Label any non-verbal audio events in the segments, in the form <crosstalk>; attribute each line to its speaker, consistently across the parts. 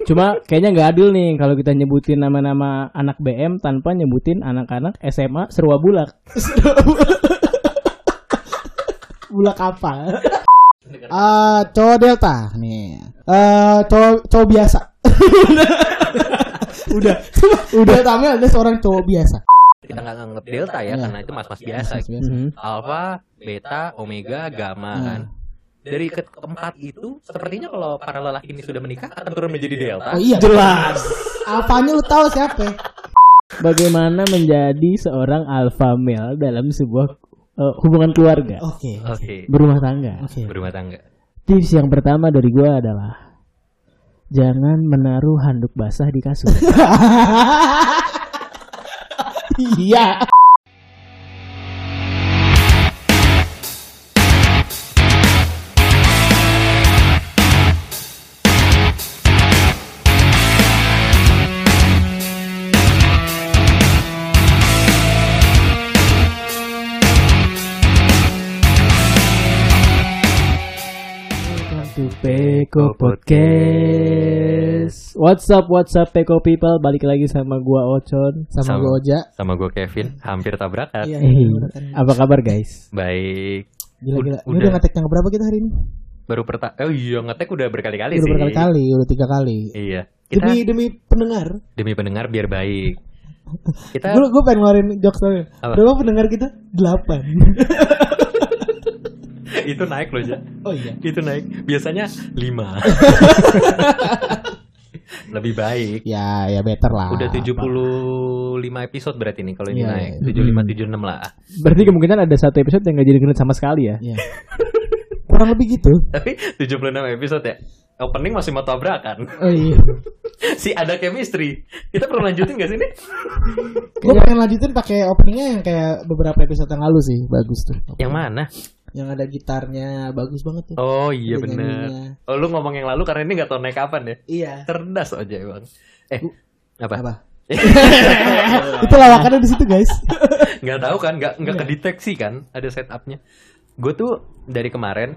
Speaker 1: Cuma kayaknya nggak adil nih kalau kita nyebutin nama-nama anak BM tanpa nyebutin anak-anak SMA serwa bulak. bulak apa?
Speaker 2: Ah, cowok delta nih. Eh, cowok cowok biasa. udah, udah tampil ada seorang cowok biasa.
Speaker 3: kita nggak nganggap delta ya
Speaker 2: Iya.
Speaker 3: karena itu mas-mas biasa Hmm.
Speaker 2: Mas biasa.
Speaker 1: Mhm.
Speaker 3: alfa beta omega gamma
Speaker 2: Nah.
Speaker 3: kan dari ke- keempat itu sepertinya kalau para lelaki ini sudah menikah akan turun menjadi delta
Speaker 2: Oh iya.
Speaker 1: Jelas.
Speaker 2: Apanya lu tahu siapa?
Speaker 1: Bagaimana menjadi seorang alpha male dalam sebuah eh, hubungan keluarga
Speaker 2: Oke.
Speaker 3: oke
Speaker 1: berumah tangga?
Speaker 2: Oke.
Speaker 3: berumah tangga
Speaker 1: Tips yang pertama dari gua adalah jangan menaruh handuk basah di kasur.
Speaker 2: Iya.
Speaker 1: Welcome to Peko Podcast. What's up, what's up Peko people? Balik lagi sama gua Ocon.
Speaker 2: Sama
Speaker 3: Sama.
Speaker 2: gue Oja.
Speaker 3: sama gue Kevin hampir tabrakan
Speaker 2: Iya.
Speaker 1: Eh,
Speaker 2: iya.
Speaker 1: apa kabar guys?
Speaker 3: baik
Speaker 2: Gila-gila. Ini
Speaker 3: Udah.
Speaker 2: udah ngetek yang berapa kita hari ini?
Speaker 3: baru perta oh iya ngetek udah berkali-kali
Speaker 2: Udah
Speaker 3: sih
Speaker 2: berkali-kali, udah tiga kali.
Speaker 3: iya kita
Speaker 2: Demi demi pendengar.
Speaker 3: demi pendengar biar baik kita
Speaker 2: Gue gue pengen ngeluarin jokes tapi
Speaker 3: Apa?
Speaker 2: berapa pendengar kita?
Speaker 3: <laughs>
Speaker 2: Delapan.
Speaker 3: itu naik loh ja
Speaker 2: oh iya.
Speaker 3: itu naik biasanya lima
Speaker 2: <laughs>
Speaker 3: lebih baik
Speaker 2: Ya ya better lah.
Speaker 3: udah
Speaker 2: Apa-
Speaker 3: 75 episode berarti nih kalau ini
Speaker 2: Iya,
Speaker 3: naik
Speaker 2: iya.
Speaker 3: 75 76 lah
Speaker 1: Berarti kemungkinan ada satu episode yang gak jadi kredit sama sekali ya?
Speaker 2: Iya. <laughs> Kurang lebih gitu.
Speaker 3: tapi 76 episode ya opening masih mau tabrakan <laughs>
Speaker 2: Oh iya.
Speaker 3: si ada chemistry kita perlu lanjutin gak sih ini
Speaker 2: Gue pengen lanjutin pakai openingnya yang kayak beberapa episode yang lalu sih, bagus tuh.
Speaker 3: yang mana
Speaker 2: Yang ada gitarnya bagus banget tuh.
Speaker 3: oh iya
Speaker 2: Ada nyanyinya.
Speaker 3: bener oh, lu ngomong yang lalu karena ini nggak tahu naik kapan ya
Speaker 2: Iya.
Speaker 3: cerdas aja bang eh apa <laughs>
Speaker 2: Apa? <laughs> Itu lawakannya di situ guys.
Speaker 3: nggak tahu kan nggak nggak
Speaker 2: Iya.
Speaker 3: kedeteksi kan ada setupnya gue tuh dari kemarin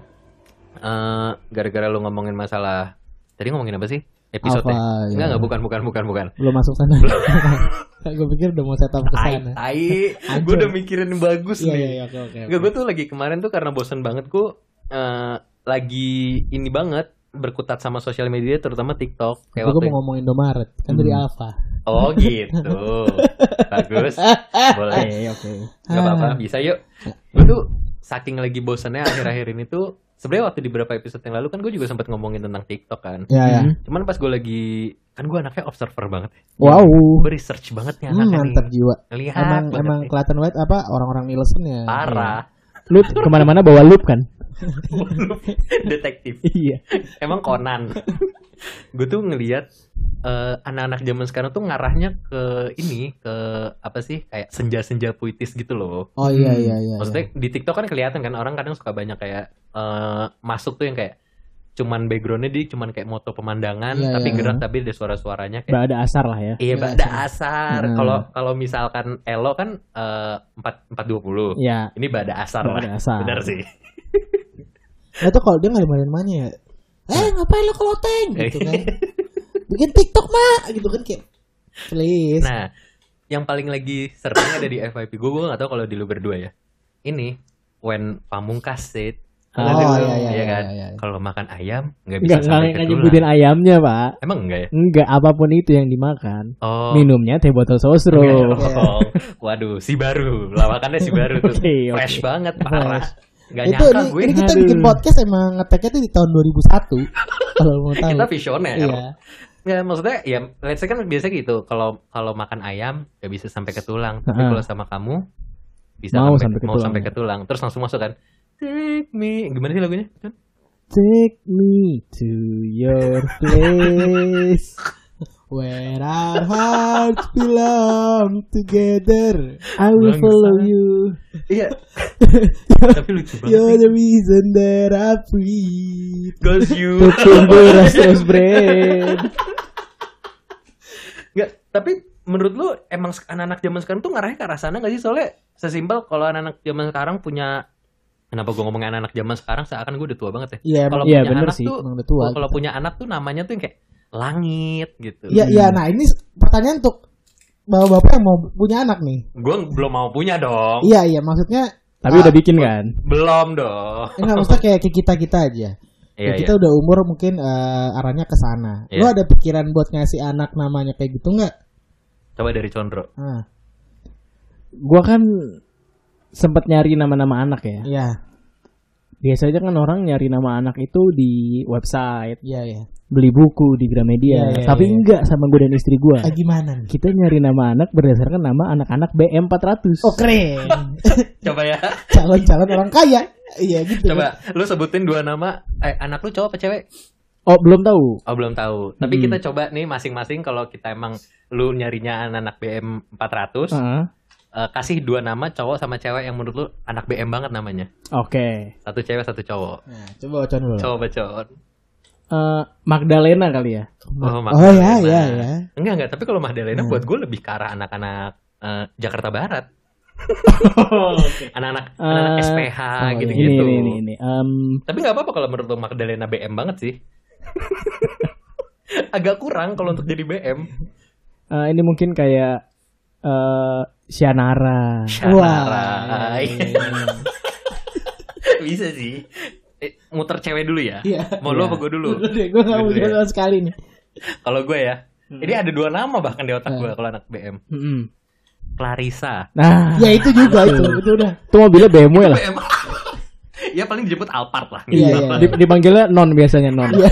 Speaker 3: eh, gara-gara lu ngomongin masalah tadi ngomongin apa sih episode
Speaker 2: Alpha,
Speaker 3: ya?
Speaker 2: ya.
Speaker 3: nggak nggak bukan bukan bukan bukan
Speaker 2: Belum masuk <laughs> sana. gue pikir udah mau setup ke
Speaker 3: tai
Speaker 2: sana.
Speaker 3: tai
Speaker 2: <laughs>
Speaker 3: gue udah mikirin bagus
Speaker 2: ya? Iya iya
Speaker 3: nih
Speaker 2: iya oke oke. oke.
Speaker 3: nggak gue tuh lagi kemarin tuh karena bosen banget gue eh, lagi ini banget berkutat sama sosial media terutama TikTok kayak
Speaker 2: Gue
Speaker 3: waktu
Speaker 2: mau ngomongin Indomaret kan dari Alfa.
Speaker 3: oh
Speaker 2: <laughs>
Speaker 3: gitu bagus boleh
Speaker 1: <laughs>
Speaker 2: oke.
Speaker 3: Gak
Speaker 2: Ah.
Speaker 3: apa-apa, bisa yuk.
Speaker 2: Iya.
Speaker 3: Gue tuh saking lagi bosannya akhir-akhir ini tuh sebenarnya waktu di beberapa episode yang lalu kan gue juga sempat ngomongin tentang TikTok kan.
Speaker 2: Ya ya.
Speaker 1: Hmm.
Speaker 3: Cuman pas gue lagi kan gue anaknya observer banget.
Speaker 2: Wow.
Speaker 3: Gue research banget nih
Speaker 2: Hmm,
Speaker 3: anaknya.
Speaker 2: mantap jiwa.
Speaker 3: Lihat
Speaker 2: Emang emang kelihatan banget apa orang-orang Nielsen ya.
Speaker 3: parah.
Speaker 1: Loop kemana-mana bawa loop kan?
Speaker 3: Detektif.
Speaker 1: Iya.
Speaker 3: Emang Conan. gue tuh ngelihat eh, anak-anak zaman sekarang tuh ngarahnya ke ini ke apa sih kayak senja-senja puitis gitu loh.
Speaker 2: Oh iya iya iya.
Speaker 3: Maksudnya di TikTok kan kelihatan kan orang kadang suka banyak kayak eh, masuk tuh yang kayak cuman backgroundnya dia cuman kayak moto pemandangan
Speaker 2: Iya,
Speaker 3: tapi
Speaker 2: iya.
Speaker 3: gerak tapi ada suara-suaranya kayak
Speaker 1: Ba- ada asar lah ya.
Speaker 3: iya
Speaker 2: Iya,
Speaker 3: Mbak,
Speaker 2: iya.
Speaker 3: ada asar
Speaker 2: Hmm.
Speaker 3: kalau kalau misalkan elo kan empat empat dua puluh
Speaker 1: Iya.
Speaker 3: ini Mbak, ada asar lah
Speaker 1: Ada asar.
Speaker 3: benar sih
Speaker 2: Nah itu kalau dia nggak dimarahin mana ya? Eh ngapain lo keloteng
Speaker 3: Eh.
Speaker 2: gitu kan? Bikin TikTok mak gitu kan kayak please.
Speaker 3: nah yang paling lagi sering ada di FYP gue gue gak tahu kalau di lu berdua ya ini when pamungkas said
Speaker 1: Oh,
Speaker 3: Kalau
Speaker 2: iya,
Speaker 3: lu,
Speaker 2: iya,
Speaker 3: iya
Speaker 2: iya,
Speaker 3: kan
Speaker 2: iya, iya.
Speaker 3: kalau makan ayam nggak
Speaker 1: Enggak
Speaker 3: bisa sampai ke
Speaker 1: nggak
Speaker 3: tulang.
Speaker 1: nyebutin ayamnya pak.
Speaker 3: emang enggak ya
Speaker 1: Enggak apapun itu yang dimakan.
Speaker 3: oh
Speaker 1: Minumnya teh botol sosro.
Speaker 3: Oh, <laughs> Waduh, si baru. Lawakannya si baru tuh.
Speaker 1: Oke, oke.
Speaker 3: Fresh banget, parah. Gak
Speaker 2: itu
Speaker 3: nyangka
Speaker 2: ini,
Speaker 3: gue.
Speaker 2: ini kita
Speaker 1: Aduh.
Speaker 2: bikin podcast emang ngeteknya tuh di tahun
Speaker 3: <laughs>
Speaker 2: 2001 kalau mau tahu.
Speaker 3: Kita visioner.
Speaker 2: Iya.
Speaker 3: Ya, maksudnya ya let's say kan biasa gitu. Kalau kalau makan ayam gak bisa sampai ke tulang, tapi
Speaker 1: Heeh.
Speaker 3: kalau sama kamu bisa
Speaker 1: Mau sampai ke
Speaker 3: mau
Speaker 1: tulang,
Speaker 3: sampai
Speaker 1: ya.
Speaker 3: ke tulang. Terus langsung masuk kan. Take me. Gimana sih lagunya?
Speaker 1: Take me to your
Speaker 3: <laughs>
Speaker 1: place.
Speaker 2: Where our hearts belong together.
Speaker 1: I will
Speaker 3: Bangsa.
Speaker 1: follow you.
Speaker 3: Iya. <laughs> tapi lucu
Speaker 2: You're the
Speaker 3: banget.
Speaker 2: reason that I breathe.
Speaker 3: Cause you.
Speaker 1: Tumbuh rasa bread.
Speaker 3: Nggak, tapi menurut lu emang sek- anak-anak zaman sekarang tuh ngarahnya ke arah sana gak sih? Soalnya sesimpel kalau anak-anak zaman sekarang punya Kenapa gue ngomongin anak-anak zaman sekarang seakan gue udah tua banget ya?
Speaker 2: Iya, emang
Speaker 3: Kalau
Speaker 1: Iya,
Speaker 3: punya
Speaker 1: bener
Speaker 3: anak
Speaker 1: sih,
Speaker 3: tuh
Speaker 2: emang udah tua
Speaker 3: kalau
Speaker 2: kita.
Speaker 3: punya anak tuh namanya tuh yang kayak langit gitu.
Speaker 2: Iya, iya. Nah, ini pertanyaan untuk bapak-bapak yang mau punya anak nih.
Speaker 3: Gue belum mau punya dong.
Speaker 2: Iya, iya. Maksudnya
Speaker 1: Tapi udah bikin kan?
Speaker 3: Belum dong. <laughs>
Speaker 2: enggak maksudnya kayak kayak kita-kita aja.
Speaker 3: Iya,
Speaker 2: Ya,
Speaker 3: iya.
Speaker 2: kita udah umur mungkin eh, arahnya ke sana.
Speaker 3: Iya.
Speaker 2: Lu ada pikiran buat ngasih anak namanya kayak gitu nggak?
Speaker 3: Coba dari
Speaker 2: <laughs>
Speaker 3: Condro.
Speaker 2: Ah,
Speaker 1: Gua kan sempet nyari nama-nama anak ya.
Speaker 2: iya,
Speaker 1: Biasanya kan orang nyari nama anak itu di website,
Speaker 2: iya, iya.
Speaker 1: beli buku di Gramedia.
Speaker 2: Iya, iya,
Speaker 1: Tapi
Speaker 2: iya.
Speaker 1: enggak sama gue dan istri
Speaker 3: Iya.
Speaker 1: gua.
Speaker 2: Ah, gimana nih?
Speaker 1: Kita nyari nama anak berdasarkan nama anak-anak BM 400.
Speaker 2: Oh keren. <laughs>
Speaker 3: Coba ya.
Speaker 2: Calon-calon orang kaya. Iya gitu.
Speaker 3: Coba lu sebutin dua nama eh, anak lu cowok apa cewek?
Speaker 1: Oh, belum tahu.
Speaker 3: Oh belum tahu. Tapi
Speaker 1: Hmm.
Speaker 3: kita coba nih masing-masing kalau kita emang lu nyarinya anak BM
Speaker 2: Ah.
Speaker 3: 400
Speaker 1: Heeh.
Speaker 3: eh, kasih dua nama cowok sama cewek yang menurut lu anak BM banget namanya.
Speaker 1: Oke.
Speaker 3: Satu cewek satu cowok.
Speaker 2: Nah, coba Ocon dulu.
Speaker 3: Coba cowok.
Speaker 1: Eh, Magdalena kali ya.
Speaker 2: Oh ya,
Speaker 3: Oh, Magdalena.
Speaker 2: ya, ya. Hmm.
Speaker 3: Enggak enggak, tapi kalau Magdalena buat gue lebih ke arah anak-anak eh, Jakarta Barat. Anak-anak anak
Speaker 1: Eh,
Speaker 3: SPH
Speaker 2: iya.
Speaker 3: gitu-gitu.
Speaker 1: Oh, iya. Ini ini ini. ini. Em,
Speaker 3: Tapi nggak apa-apa kalau menurut lu Magdalena BM banget sih. <laughs> Agak kurang kalau untuk jadi BM.
Speaker 1: eh, ini mungkin kayak eh Syanara.
Speaker 3: Syarai.
Speaker 2: iya, iya.
Speaker 3: <laughs> Bisa sih. Eh, muter cewek dulu ya.
Speaker 2: Iya.
Speaker 3: Mau lu apa gue dulu?
Speaker 2: Dulu deh, gue gak
Speaker 3: Dulu
Speaker 2: punya
Speaker 3: ya.
Speaker 2: sama sekali nih.
Speaker 3: Kalau gue ya. Ini ada dua nama bahkan di
Speaker 2: Hmm.
Speaker 3: otak gue kalau anak BM.
Speaker 1: Mm-mm.
Speaker 3: Clarissa.
Speaker 1: Nah,
Speaker 2: Ya itu juga itu, itu udah.
Speaker 1: itu mobilnya BMW lah.
Speaker 3: <laughs> BM. ya paling disebut Alphard lah.
Speaker 2: Iya,
Speaker 3: minimal.
Speaker 2: iya.
Speaker 3: <laughs>
Speaker 1: Di- Dipanggilnya non biasanya non.
Speaker 2: Iya.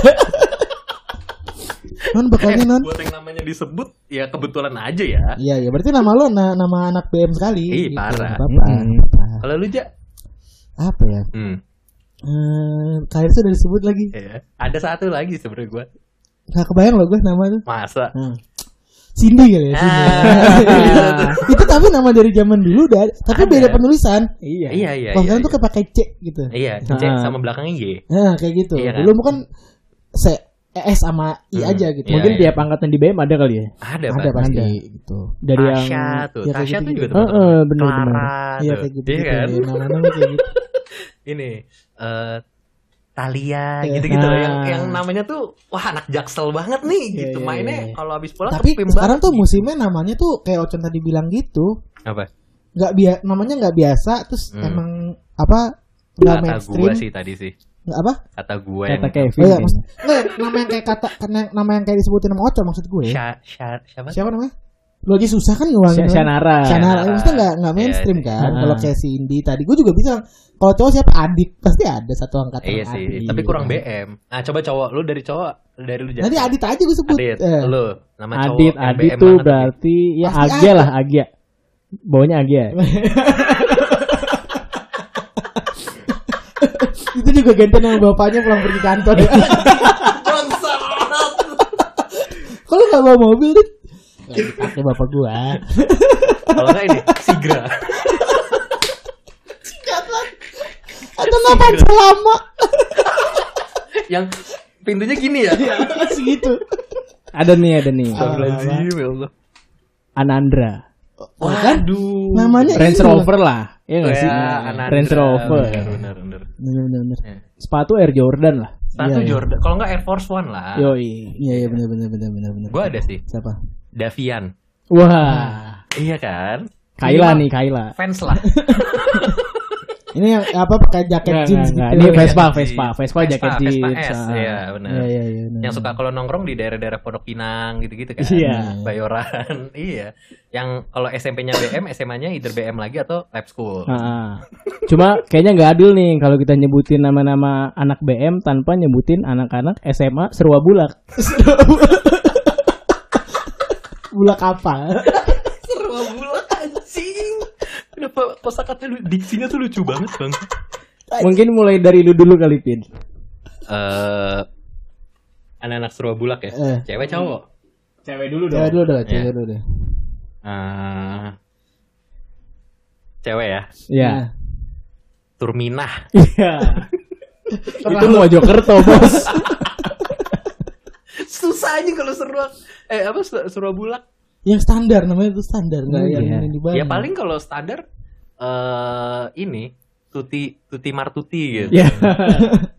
Speaker 2: non
Speaker 3: Eh,
Speaker 2: bakalnya non.
Speaker 3: buat yang namanya disebut ya kebetulan aja ya.
Speaker 2: Iya, iya. Berarti nama lo na- nama anak BM sekali.
Speaker 3: Ih,
Speaker 2: Gitu,
Speaker 3: parah.
Speaker 2: nggak Apa-apa.
Speaker 1: Mm-mm.
Speaker 2: nggak apa-apa.
Speaker 3: Kalau lu ja,
Speaker 2: Apa ya?
Speaker 3: hmm,
Speaker 2: Eh, kalian sudah disebut lagi.
Speaker 3: iya. ada satu lagi sebenarnya gue.
Speaker 2: Gak kebayang lo gue nama tuh.
Speaker 3: Masa?
Speaker 2: Hmm. Cindy kali ya, Cindy.
Speaker 3: Ah.
Speaker 2: <laughs> itu tapi nama dari zaman dulu udah, ada, tapi
Speaker 3: Ada. ya?
Speaker 2: beda penulisan.
Speaker 1: Iya.
Speaker 3: iya iya.
Speaker 2: Kalau
Speaker 3: Iya,
Speaker 2: sekarang tuh kepakai C gitu.
Speaker 3: iya.
Speaker 1: Ah.
Speaker 3: C sama belakangnya Y.
Speaker 2: Nah, kayak gitu.
Speaker 3: Iya kan?
Speaker 2: Dulu bukan C, S sama I
Speaker 3: Hmm.
Speaker 2: aja gitu.
Speaker 3: Iya,
Speaker 1: Mungkin
Speaker 3: iya.
Speaker 1: tiap angkatan di BM ada kali ya.
Speaker 3: Ada,
Speaker 2: ada
Speaker 3: Pak.
Speaker 2: pasti
Speaker 1: Ada.
Speaker 2: gitu.
Speaker 1: Dari yang
Speaker 3: Tasya tuh,
Speaker 2: ya, kayak
Speaker 3: Tasya tuh
Speaker 2: gitu-gitu.
Speaker 3: juga
Speaker 1: Eh,
Speaker 3: teman-teman.
Speaker 1: eh, bener,
Speaker 3: Clara tuh.
Speaker 2: Iya kayak gitu.
Speaker 3: Iya kan?
Speaker 2: gitu.
Speaker 3: <laughs>
Speaker 2: Nama-nama kayak gitu.
Speaker 3: Ini eh Talia
Speaker 2: Iya.
Speaker 3: gitu-gitu loh yang
Speaker 1: Nah.
Speaker 3: yang namanya tuh wah anak jaksel banget nih
Speaker 2: Iya,
Speaker 3: gitu
Speaker 2: iya,
Speaker 3: mainnya
Speaker 2: iya.
Speaker 3: kalau habis pulang
Speaker 2: Tapi
Speaker 3: kepim
Speaker 2: sekarang
Speaker 3: banget.
Speaker 2: tuh musimnya namanya tuh kayak Ocon tadi bilang gitu.
Speaker 3: apa?
Speaker 2: Nggak bia namanya nggak biasa terus
Speaker 3: Hmm.
Speaker 2: emang apa nggak
Speaker 3: Kata
Speaker 2: mainstream
Speaker 3: gua sih tadi sih.
Speaker 2: nggak apa
Speaker 3: Kata gua yang
Speaker 1: kata Kevin.
Speaker 2: oh, iya,
Speaker 1: kan.
Speaker 2: maksud, nggak, nama yang kayak kata kena- nama yang kayak disebutin sama Ocon maksud gue
Speaker 3: Sya- Sya- siapa?
Speaker 2: siapa namanya lu aja susah kan ngeluangin
Speaker 1: Sya- Syanara.
Speaker 2: Syanara eh,
Speaker 3: Syanara.
Speaker 2: maksudnya nggak nggak mainstream
Speaker 3: Iya,
Speaker 2: kan
Speaker 1: iya.
Speaker 2: kalau kayak si Indi tadi gue juga bilang kalau cowok siapa Adit pasti ada satu angkatan
Speaker 3: Iya sih,
Speaker 2: Adit.
Speaker 3: tapi kurang BM. Ah coba cowok, lu dari cowok, dari lu
Speaker 2: nanti
Speaker 3: Jas.
Speaker 2: Adit aja gue sebut
Speaker 3: Iya. Adit,
Speaker 2: Eh,
Speaker 3: lu nama cowok
Speaker 1: Adit,
Speaker 3: yang
Speaker 1: Adit
Speaker 3: BM
Speaker 1: tuh
Speaker 3: banget.
Speaker 1: berarti ya
Speaker 2: Pasti
Speaker 1: Agia
Speaker 2: ada.
Speaker 1: lah Agia. Bawahnya Agia.
Speaker 2: itu juga gantian sama bapaknya pulang pergi
Speaker 3: <laughs>
Speaker 2: kantor
Speaker 3: Bangsat.
Speaker 2: kalau nggak bawa mobil Dit? Lagi pakai bapak gua
Speaker 3: Kalau enggak ini Sigra. <laughs>
Speaker 2: atau nggak <laughs> selama
Speaker 3: yang pintunya gini ya.
Speaker 2: Iya. segitu
Speaker 1: Ada nih, ada nih.
Speaker 3: Astagfirullahaladzim, ya Allah.
Speaker 1: Anandra.
Speaker 2: Iya kan?
Speaker 3: Waduh.
Speaker 2: namanya
Speaker 1: Iya, Range
Speaker 2: itu.
Speaker 1: Rover lah. Iya nggak sih? Range Rover.
Speaker 3: Benar, benar.
Speaker 2: bener bener bener
Speaker 1: Sepatu Air Jordan lah.
Speaker 3: Iya. Satu
Speaker 2: Iya, iya.
Speaker 3: Jordan. Kalau nggak Air Force One lah.
Speaker 1: Yoi.
Speaker 2: iya iya bener bener bener bener bener
Speaker 3: Gue ada sih.
Speaker 2: siapa
Speaker 3: Davian.
Speaker 1: Wah.
Speaker 3: Iya kan?
Speaker 1: Kaila
Speaker 3: Minimal
Speaker 1: nih, Kaila.
Speaker 3: Fans
Speaker 1: <laughs>
Speaker 3: lah.
Speaker 2: ini yang apa pakai jaket
Speaker 1: Nggak,
Speaker 2: jeans
Speaker 1: nggak, nggak.
Speaker 2: gitu
Speaker 1: Ini
Speaker 2: ya?
Speaker 1: Iya, Vespa, Vespa, Vespa jaket
Speaker 3: Iya. Vespa
Speaker 1: jeans.
Speaker 3: S.
Speaker 1: Ah.
Speaker 3: Iya,
Speaker 2: Iya,
Speaker 3: benar.
Speaker 2: iya, iya, bener.
Speaker 3: yang suka kalau nongkrong di daerah-daerah Pondok Pinang gitu-gitu kan.
Speaker 1: Iya.
Speaker 3: Bayoran. <laughs> iya. Yang kalau SMP-nya BM, SMA-nya either BM lagi atau lab school.
Speaker 1: Ah. Cuma kayaknya nggak adil nih kalau kita nyebutin nama-nama anak BM tanpa nyebutin anak-anak SMA serwa
Speaker 2: <laughs>
Speaker 1: bulak.
Speaker 2: bulak apa
Speaker 3: Seru bulat anjing. Kenapa kosakata lu diksinya tuh lucu banget, Bang?
Speaker 1: Mungkin mulai dari lu dulu kali Pin.
Speaker 3: Eh anak-anak serba bulak ya?
Speaker 2: Eh.
Speaker 3: Cewek cowok?
Speaker 1: Cewek dulu
Speaker 2: cewek dulu deh cewek
Speaker 3: Iya.
Speaker 2: dulu deh
Speaker 3: Eh, cewek ya?
Speaker 1: Iya.
Speaker 3: Turminah.
Speaker 1: Iya.
Speaker 2: <laughs>
Speaker 1: Itu Mojokerto, Bos.
Speaker 3: Susah aja kalau serba eh apa ser- serba bulak.
Speaker 2: yang standar namanya itu standar nggak yang
Speaker 1: Iya.
Speaker 2: ini dibangun
Speaker 3: Ya paling kalau standar eh ini Tuti Tuti Martuti gitu.
Speaker 1: Ya.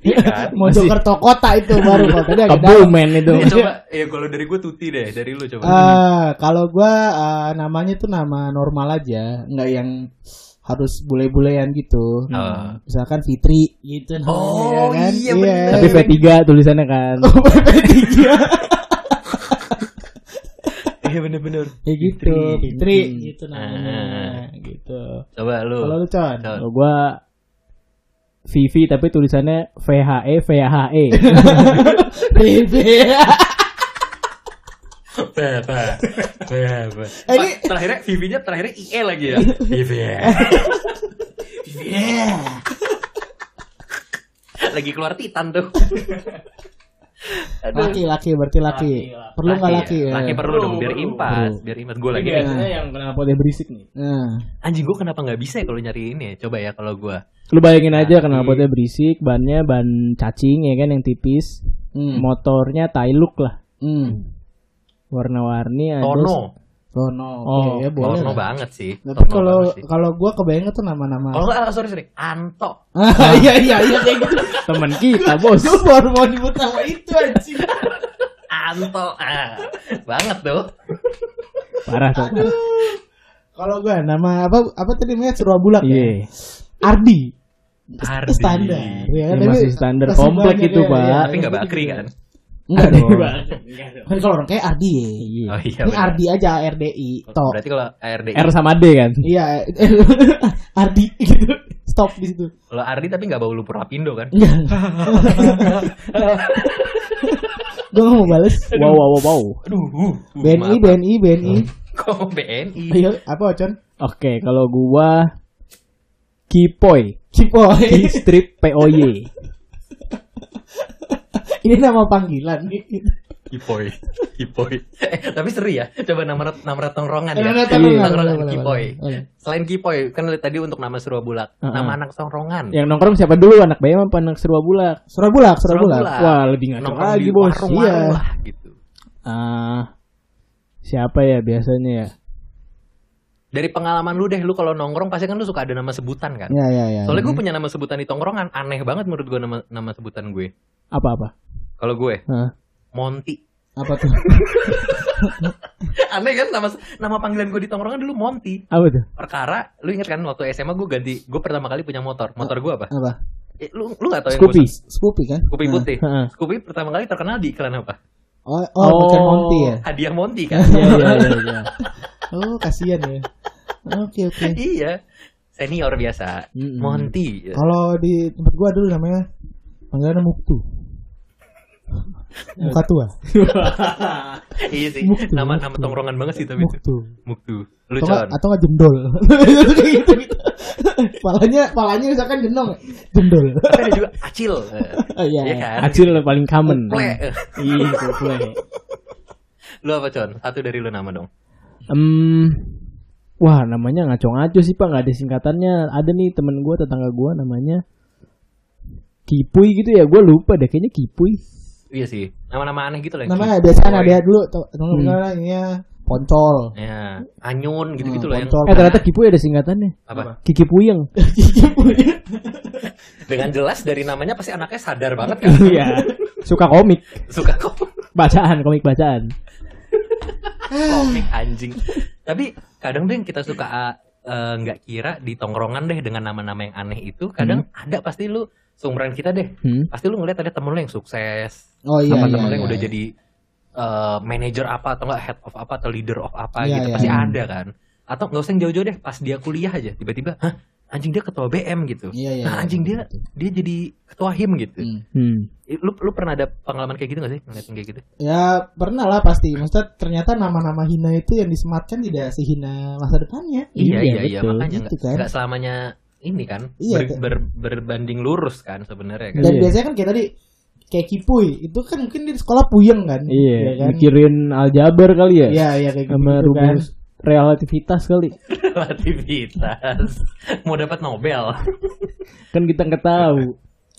Speaker 3: Iya kan?
Speaker 2: Mojokerto kota itu baru kalau tadi agak dalam.
Speaker 1: Kebumen itu.
Speaker 3: Ya, coba ya kalau dari gue Tuti deh, dari lu coba.
Speaker 2: Eh, kalau gua eh, namanya tuh nama normal aja, nggak yang harus bule-bulean gitu.
Speaker 3: Ah.
Speaker 2: Misalkan Fitri gitu namanya ya
Speaker 3: Oh,
Speaker 2: Oh, kan?
Speaker 3: iya, bener.
Speaker 1: Tapi
Speaker 2: kan?
Speaker 1: V3 tulisannya kan.
Speaker 3: Iya bener-bener.
Speaker 2: Ya gitu, Fitri,
Speaker 1: Hmm.
Speaker 2: gitu namanya
Speaker 3: Ah.
Speaker 2: gitu.
Speaker 3: Coba lu.
Speaker 2: Kalau lu Con,
Speaker 3: Con.
Speaker 2: <laughs>
Speaker 1: Kalau gua Vivi tapi tulisannya E, VHE VHE.
Speaker 2: Vivi.
Speaker 3: Apa? Apa?
Speaker 2: Eh, ini- Iya.
Speaker 3: Terakhirnya VV-nya terakhirnya IE lagi ya. VV. <laughs> lagi keluar Titan tuh.
Speaker 2: Laki-laki berarti laki.
Speaker 1: Laki-laki.
Speaker 2: Perlu nggak laki? ya?
Speaker 3: ya? Laki perlu dong
Speaker 1: Perlu,
Speaker 3: biar
Speaker 1: Iya.
Speaker 3: impas,
Speaker 2: perlu.
Speaker 3: biar impas gue
Speaker 1: <laughs>
Speaker 3: lagi.
Speaker 1: Lagi biasanya yang kenapa dia berisik nih.
Speaker 2: Nah,
Speaker 3: Anjing gue kenapa nggak bisa ya kalau nyari ini ya? Coba ya kalau gue.
Speaker 1: Lu bayangin aja kenapa dia berisik, bannya ban cacing ya kan yang tipis.
Speaker 2: hmm,
Speaker 1: Motornya Tailuk lah.
Speaker 2: hmm.
Speaker 1: Warna-warni ada
Speaker 2: <laughs>
Speaker 3: Tono,
Speaker 2: Tono, oke
Speaker 1: Oh,
Speaker 2: ya Eh, boleh.
Speaker 3: Tono
Speaker 2: lah.
Speaker 3: banget sih.
Speaker 2: Tapi
Speaker 3: Tono
Speaker 2: kalau
Speaker 3: banget sih.
Speaker 2: kalau gua kebayang tuh nama-nama.
Speaker 1: Oh.
Speaker 3: kalau nggak, ah, sorry sorry, Anto.
Speaker 2: <laughs> Ah,
Speaker 1: <laughs>
Speaker 2: iya iya iya kayak gitu.
Speaker 1: Nah. temen kita,
Speaker 2: <laughs>
Speaker 1: Bos.
Speaker 2: Gua baru mau nyebut nama itu anjing.
Speaker 3: Anto, ah. banget tuh.
Speaker 1: Parah tuh.
Speaker 2: Kalau gua nama apa apa tadi namanya Surabulak ya?
Speaker 1: Iya.
Speaker 2: Ardi.
Speaker 3: Ardi.
Speaker 2: Standar. Ya,
Speaker 1: Ini Iya, masih standar
Speaker 2: masih
Speaker 1: komplek
Speaker 2: banyak
Speaker 1: itu,
Speaker 2: ya,
Speaker 1: Pak.
Speaker 2: ya,
Speaker 3: Tapi nggak
Speaker 2: ya.
Speaker 3: bakri kan?
Speaker 2: Enggak
Speaker 1: Aduh.
Speaker 2: dong. Kan kalau orang kayak Ardi ya.
Speaker 1: Iya.
Speaker 3: Oh iya.
Speaker 2: Ini
Speaker 3: bener.
Speaker 2: Ardi aja ARDI. Tok.
Speaker 3: Oh, Berarti kalau ARD
Speaker 1: R sama D kan.
Speaker 2: Iya. <laughs> Ardi gitu. Stop di situ.
Speaker 3: kalau Ardi tapi nggak bau lumpur lapindo kan? <laughs>
Speaker 2: Enggak. Gua nggak mau bales.
Speaker 1: Wow wow wow. wow.
Speaker 3: Aduh. uh, uh,
Speaker 2: BNI,
Speaker 3: maaf.
Speaker 2: BNI, BNI.
Speaker 3: <laughs> Kok BNI?
Speaker 2: Iya, apa Ocon?
Speaker 1: Oke, kalau gua Kipoy,
Speaker 2: Cipoy.
Speaker 1: Ki strip POY.
Speaker 2: <laughs> Ini nama panggilan.
Speaker 3: Kipoy. Kipoy. <laughs> Eh, tapi seru ya. Coba nama rat- nama rat- tongrongan ya.
Speaker 2: Nama rat-
Speaker 3: Iya,
Speaker 2: tongrongan,
Speaker 3: tongrongan
Speaker 2: boleh, boleh,
Speaker 3: Kipoy.
Speaker 2: boleh.
Speaker 3: Selain Kipoy, kan tadi untuk nama Surabulak,
Speaker 1: Uh-uh.
Speaker 3: nama anak tongrongan.
Speaker 1: Yang nongkrong siapa dulu anak bayam apa anak serba bulak?
Speaker 2: Surabulak, Surabulak.
Speaker 3: Surabulak.
Speaker 1: Wah, lebih ngaco
Speaker 3: Nongkrong
Speaker 1: lagi,
Speaker 3: di
Speaker 1: Bos.
Speaker 3: warung
Speaker 1: Iya.
Speaker 3: lah gitu.
Speaker 1: Ah. Siapa ya biasanya ya?
Speaker 3: Dari pengalaman lu deh, lu kalau nongkrong pasti kan lu suka ada nama sebutan kan?
Speaker 2: Ya, ya, ya.
Speaker 1: Iya.
Speaker 3: Soalnya gue punya nama sebutan di tongkrongan, aneh banget menurut gue nama nama sebutan gue.
Speaker 1: Apa-apa?
Speaker 3: Kalau gue,
Speaker 1: Hah?
Speaker 3: Monty. <laughs>
Speaker 2: apa tuh?
Speaker 3: aneh kan nama nama panggilan gue di tongkrongan dulu Monty
Speaker 1: Apa tuh?
Speaker 3: perkara lu inget kan waktu SMA gue ganti gue pertama kali punya motor motor gue apa
Speaker 2: Apa?
Speaker 3: Eh, lu lu nggak tahu yang gua-
Speaker 1: Scoopy.
Speaker 2: Scoopy kan?
Speaker 3: Scoopy putih
Speaker 1: Heeh.
Speaker 3: Scoopy pertama kali terkenal di iklan apa <laughs>
Speaker 2: Oh, oh, bukan
Speaker 1: Oh.
Speaker 2: Monty ya.
Speaker 3: hadiah Monty kan
Speaker 1: Iya, iya, iya, iya.
Speaker 2: Oh, kasihan ya. Oke, oke.
Speaker 3: iya senior biasa
Speaker 1: Mm-mm.
Speaker 3: Monty
Speaker 2: Kalau di tempat gua dulu namanya panggilannya Muktu. Muka tua.
Speaker 3: iya sih
Speaker 2: Muktu,
Speaker 3: nama
Speaker 2: Muktu.
Speaker 3: nama tongkrongan banget sih tapi itu
Speaker 2: Muktu.
Speaker 3: Muktu lu
Speaker 2: Atau
Speaker 3: Con
Speaker 2: nggak- atau nggak jendol. <laughs> gitu, gitu. Palanya palanya misalkan gendong, jendol.
Speaker 3: tapi Kan ada juga Acil
Speaker 2: <laughs> Oh, iya.
Speaker 3: iya kan
Speaker 1: Acil lah paling common.
Speaker 3: Ple.
Speaker 1: Iya, kuple.
Speaker 3: lu apa Con satu dari lu nama dong
Speaker 1: Em, wah namanya ngaco-ngaco sih pak nggak ada singkatannya ada nih temen gue tetangga gue namanya Kipuy gitu ya gue lupa deh kayaknya Kipuy
Speaker 3: iya sih nama-nama aneh gitu lah
Speaker 2: Namanya biasanya
Speaker 3: Boy.
Speaker 2: ada dulu tau tau
Speaker 3: Hmm.
Speaker 2: nggak namanya Poncol.
Speaker 3: ya anyun gitu-gitu lah yang
Speaker 2: Poncol.
Speaker 1: eh ternyata Kipuy ada singkatannya
Speaker 3: apa
Speaker 1: Kiki Puyeng
Speaker 3: dengan jelas dari namanya pasti anaknya sadar
Speaker 2: <laughs>
Speaker 3: banget kan
Speaker 1: iya suka komik
Speaker 3: suka kok
Speaker 1: bacaan komik bacaan
Speaker 3: komik anjing tapi kadang deh kita suka ah, eh, nggak kira di tongkrongan deh dengan nama-nama yang aneh itu kadang
Speaker 2: Hmm.
Speaker 3: ada pasti lu seumuran kita deh
Speaker 1: hmm.
Speaker 3: pasti lu ngeliat ada temen lu yang sukses
Speaker 2: Oh iya.
Speaker 3: apa
Speaker 2: iya,
Speaker 3: temen lu yang
Speaker 2: iya.
Speaker 3: udah jadi eh, manager apa atau enggak head of apa atau leader of apa
Speaker 2: Iya,
Speaker 3: gitu
Speaker 2: iya,
Speaker 3: pasti
Speaker 2: iya.
Speaker 3: ada kan atau nggak usah yang jauh-jauh deh pas dia kuliah aja tiba-tiba hah anjing dia ketua BM gitu
Speaker 2: Iya, iya,
Speaker 3: Nah, anjing dia dia jadi ketua him gitu
Speaker 2: Hmm.
Speaker 1: Hmm.
Speaker 3: Eh, lu lu pernah ada pengalaman kayak gitu gak sih ngeliat yang kayak gitu
Speaker 2: Ya pernah lah pasti. Maksudnya ternyata nama-nama hina itu yang disematkan tidak sehina masa depannya.
Speaker 3: Iya
Speaker 1: Iya,
Speaker 3: iya iya
Speaker 1: betul.
Speaker 3: makanya
Speaker 2: Gitu
Speaker 3: nggak
Speaker 2: kan.
Speaker 3: nggak selamanya ini kan
Speaker 2: Iya,
Speaker 3: ber-
Speaker 2: tuh.
Speaker 3: ber- berbanding lurus kan sebenarnya
Speaker 2: <laughs>
Speaker 3: kan.
Speaker 2: Dan
Speaker 1: Iya.
Speaker 2: biasanya kan kayak tadi kayak kipuy itu kan mungkin di sekolah puyeng kan.
Speaker 1: iya
Speaker 2: Iya kan.
Speaker 1: mikirin aljabar kali ya
Speaker 2: Iya iya kayak
Speaker 1: sama
Speaker 2: gitu kan.
Speaker 1: rumus relativitas kali
Speaker 3: Relativitas mau dapat Nobel.
Speaker 1: kan kita nggak tahu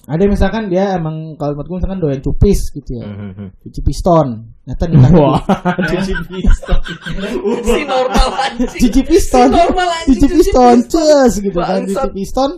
Speaker 2: Ada yang misalkan dia emang kalau menurut gue misalkan doyan cupis gitu ya.
Speaker 3: Mhm.
Speaker 2: Cuci piston. Nah, Ternyata
Speaker 1: <laughs>
Speaker 2: ditanya,
Speaker 1: wah
Speaker 2: <laughs>
Speaker 3: <laughs> si normal anjing.
Speaker 2: Cici piston,
Speaker 3: Si normal anjing,
Speaker 2: cici
Speaker 3: cuci
Speaker 2: piston,
Speaker 3: piston.
Speaker 2: cus gitu kan,
Speaker 3: Bangsat.
Speaker 2: cici piston.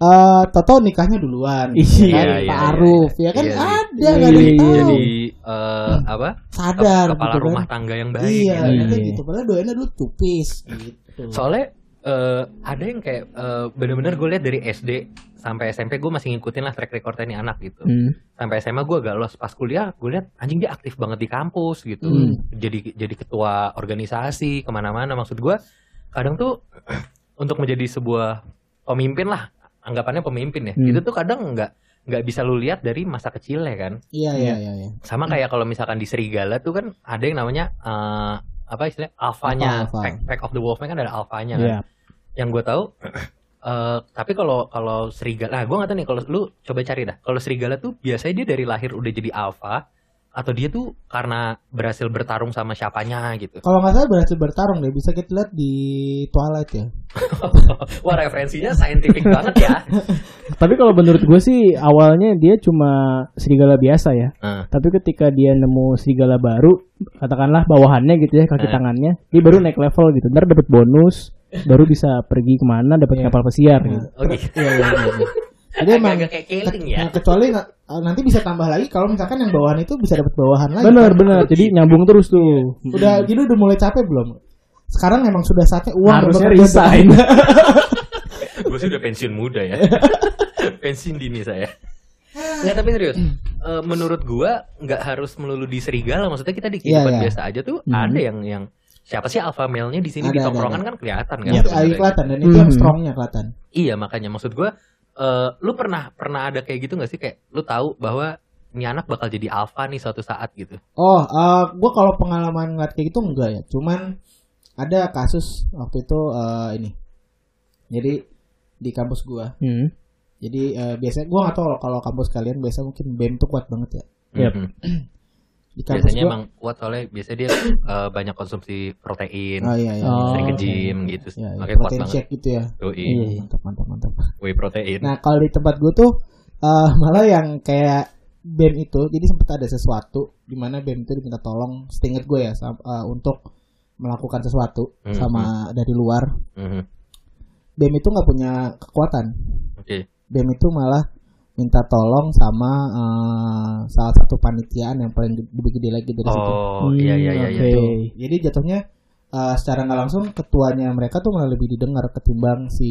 Speaker 2: eh Toto nikahnya duluan
Speaker 1: Iya,
Speaker 2: ya kan?
Speaker 3: iya,
Speaker 2: Pak
Speaker 3: iya,
Speaker 2: Aruf ya kan
Speaker 3: Iya, iya.
Speaker 2: ada
Speaker 1: Iya,
Speaker 2: nggak ada yang
Speaker 1: iya,
Speaker 2: tahu
Speaker 1: iya.
Speaker 3: jadi eh, apa Ke-
Speaker 2: sadar
Speaker 3: kepala
Speaker 2: gitu Hmm. kan.
Speaker 3: rumah tangga yang baik
Speaker 2: iya
Speaker 3: gitu.
Speaker 1: Iya.
Speaker 2: kan gitu padahal doainnya dulu cupis gitu
Speaker 3: soalnya eh, ada yang kayak eh, bener-bener gue lihat dari SD sampai SMP gue masih ngikutin lah track record ini anak gitu
Speaker 1: Hmm.
Speaker 3: sampai SMA gue agak lost pas kuliah gue lihat anjing dia aktif banget di kampus gitu
Speaker 2: Hmm.
Speaker 3: jadi jadi ketua organisasi kemana-mana maksud gue kadang tuh <clears throat> untuk menjadi sebuah pemimpin lah anggapannya pemimpin ya
Speaker 1: Hmm.
Speaker 3: itu tuh kadang nggak nggak bisa lu lihat dari masa kecilnya kan
Speaker 2: iya iya iya iya
Speaker 3: sama kayak kalau misalkan di serigala tuh kan ada yang namanya eh, apa istilahnya
Speaker 2: Alpha,
Speaker 3: alfanya
Speaker 2: alpha.
Speaker 3: pack, pack of the wolfman kan ada alfanya kan
Speaker 1: Iya.
Speaker 3: yang gue tahu eh, tapi kalau kalau serigala nah gue nggak tahu nih kalau lu coba cari dah kalau serigala tuh biasanya dia dari lahir udah jadi alfa atau dia tuh karena berhasil bertarung sama siapanya
Speaker 2: <laughs>
Speaker 3: gitu
Speaker 2: kalau nggak salah berhasil bertarung deh bisa kita lihat di Twilight ya
Speaker 3: wah referensinya scientific banget ya
Speaker 1: Tapi kalau menurut gue sih awalnya dia cuma serigala biasa ya.
Speaker 3: Heeh.
Speaker 1: Tapi ketika dia nemu serigala baru, katakanlah bawahannya gitu ya kaki
Speaker 3: Eh.
Speaker 1: tangannya, dia baru naik level gitu. Ntar dapat bonus, baru bisa pergi kemana, dapat kapal pesiar. Gitu.
Speaker 3: oke
Speaker 2: iya iya iya, iya. jadi emang
Speaker 3: agak Oh, kayak killing ya
Speaker 2: nah, kecuali nggak- nanti bisa tambah lagi kalau misalkan yang bawahan itu bisa dapat bawahan lagi
Speaker 1: Bener
Speaker 2: kan?
Speaker 1: bener. Jadi nyambung terus tuh.
Speaker 2: udah
Speaker 3: Hmm.
Speaker 2: jadi udah mulai capek belum sekarang emang sudah saatnya uang
Speaker 1: Harusnya
Speaker 2: bekerja untuk <laughs>
Speaker 1: resign. Iya,
Speaker 3: gue sih udah pensiun muda <laughs> ya pensiun dini saya Nggak, tapi serius Eh, menurut gua nggak harus melulu di serigala maksudnya kita di
Speaker 2: Iya,
Speaker 3: kehidupan
Speaker 2: iya.
Speaker 3: biasa aja tuh
Speaker 1: Mhm.
Speaker 3: ada yang yang siapa sih alpha male-nya di sini
Speaker 2: Ada,
Speaker 3: di
Speaker 2: ada,
Speaker 3: tongkrongan
Speaker 2: ada.
Speaker 3: kan kelihatan kan
Speaker 2: Iya,
Speaker 3: sebenarnya.
Speaker 2: ayu kelihatan dan itu yang
Speaker 1: Hmm.
Speaker 2: strongnya kelihatan.
Speaker 3: iya makanya maksud gua eh, lu pernah pernah ada kayak gitu nggak sih kayak lu tahu bahwa ini anak bakal jadi alpha nih suatu saat gitu
Speaker 2: Oh, eh gue kalau pengalaman ngeliat kayak gitu enggak ya. Cuman ada kasus waktu itu eh, ini. Jadi di kampus gue.
Speaker 1: Hmm.
Speaker 2: Jadi eh, biasanya gue gak tau kalau kampus kalian biasa mungkin bem tuh kuat banget ya.
Speaker 1: Yap.
Speaker 3: Mhm.
Speaker 2: Di kampus
Speaker 3: biasanya
Speaker 2: gue.
Speaker 3: emang kuat soalnya biasanya dia eh, banyak konsumsi protein
Speaker 2: Oh iya iya.
Speaker 1: Oh.
Speaker 3: sering ke
Speaker 2: iya.
Speaker 3: gym gitu
Speaker 2: Iya, iya.
Speaker 3: makanya kuat
Speaker 2: protein
Speaker 3: banget
Speaker 2: shake gitu ya.
Speaker 3: Yoi.
Speaker 1: Iya.
Speaker 2: Mantap mantap mantap.
Speaker 3: whey protein
Speaker 2: Nah kalau di tempat gue tuh eh, malah yang kayak bem itu, jadi sempat ada sesuatu di mana bem itu diminta tolong, setinget gue ya, sam- eh, untuk melakukan sesuatu
Speaker 3: Mhm.
Speaker 2: sama dari luar.
Speaker 3: Mhm.
Speaker 2: bem itu nggak punya kekuatan.
Speaker 3: oke
Speaker 2: bem itu malah minta tolong sama eh, salah satu panitiaan yang paling gede- lebih gede lagi dari situ.
Speaker 3: oh iya iya iya iya.
Speaker 1: Oke.
Speaker 2: Tuh. Jadi jatuhnya eh, secara nggak langsung ketuanya mereka tuh malah lebih didengar ketimbang si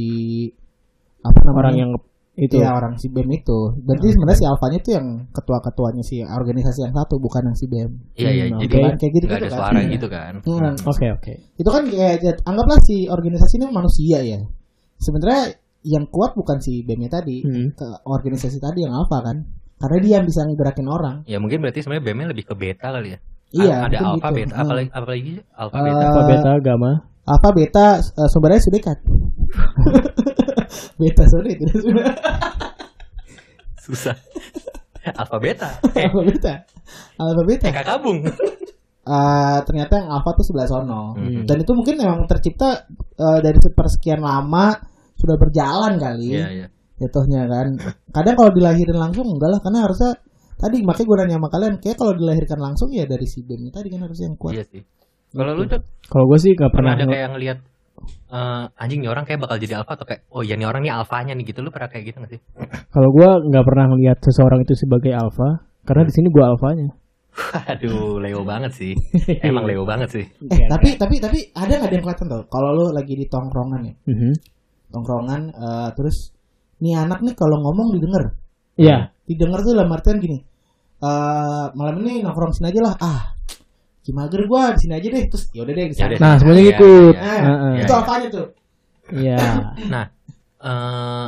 Speaker 2: apa namanya
Speaker 1: Orang yang itu.
Speaker 2: Iya, orang si bem itu. Berarti sebenarnya si alfanya tuh yang ketua-ketuanya si organisasi yang satu bukan yang si bem.
Speaker 3: Iya iya,
Speaker 1: Hmm,
Speaker 3: jadi
Speaker 1: oke.
Speaker 2: Kan? Kayak gitu
Speaker 3: nggak
Speaker 2: gitu
Speaker 3: ada
Speaker 2: kan.
Speaker 3: suara
Speaker 2: Iya.
Speaker 3: gitu kan.
Speaker 2: Hmm.
Speaker 1: Oke oke.
Speaker 2: Itu kan kayak jat- anggaplah si organisasi ini manusia ya. Sebenarnya yang kuat bukan si bemnya tadi,
Speaker 1: Hmm.
Speaker 2: ke organisasi tadi yang apa kan karena dia yang bisa ngiberakin orang
Speaker 3: Ya mungkin berarti sebenarnya BEM-nya lebih ke beta kali ya.
Speaker 2: iya
Speaker 3: ada
Speaker 2: mungkin
Speaker 3: alfa
Speaker 2: gitu.
Speaker 3: beta,
Speaker 2: Hmm.
Speaker 3: apalagi apalagi alfa
Speaker 2: Eh,
Speaker 3: beta.
Speaker 1: Apa beta agama?
Speaker 2: alfa beta eh, sumbernya sedekat <laughs> beta sorry tidak sumber-
Speaker 3: <laughs> Susah. alfa beta. Eh,
Speaker 2: alfa beta alfa beta
Speaker 3: kakak kabung.
Speaker 2: ya? Eh, ternyata yang alfa tuh sebelah sono
Speaker 3: Mhm.
Speaker 2: dan itu mungkin memang tercipta eh, dari persekian lama sudah berjalan kali
Speaker 3: Iya iya.
Speaker 2: jatuhnya kan kadang kalau dilahirin langsung enggak lah karena harusnya tadi makanya gue nanya sama kalian kayak kalau dilahirkan langsung ya dari si bem tadi kan harusnya yang kuat
Speaker 3: Iya sih. Kalau lu Cok,
Speaker 1: Kalau gue sih nggak
Speaker 3: pernah
Speaker 1: pernah.
Speaker 3: ada kayak ngelihat eh anjing nih orang kayak bakal jadi alfa atau kayak oh ya nih orang nih alfanya nih gitu lu pernah kayak gitu gak sih? <laughs>
Speaker 1: Kalau gue nggak pernah melihat seseorang itu sebagai alfa, karena
Speaker 3: Hmm.
Speaker 1: di sini gue alfanya.
Speaker 3: Aduh, Leo banget
Speaker 2: <laughs>
Speaker 3: sih. Emang Leo banget sih.
Speaker 1: Iya,
Speaker 2: eh tapi tapi tapi ada nggak ada yang kelihatan tuh kalau lu lagi di tongkrongan ya
Speaker 1: Mhm.
Speaker 2: tongkrongan eh, terus nih anak nih kalau ngomong didengar
Speaker 1: Iya.
Speaker 2: didengar tuh dalam artian gini eh malam ini nongkrong sini aja lah ah kimager gua di sini aja deh terus yaudah deh di sana
Speaker 3: Yaudah.
Speaker 1: Nah semuanya
Speaker 3: Iya,
Speaker 1: ngikut.
Speaker 3: iya.
Speaker 2: Nah,
Speaker 1: Heeh.
Speaker 2: itu
Speaker 3: Iya, iya.
Speaker 2: apa aja tuh
Speaker 1: Iya.
Speaker 3: Nah, eh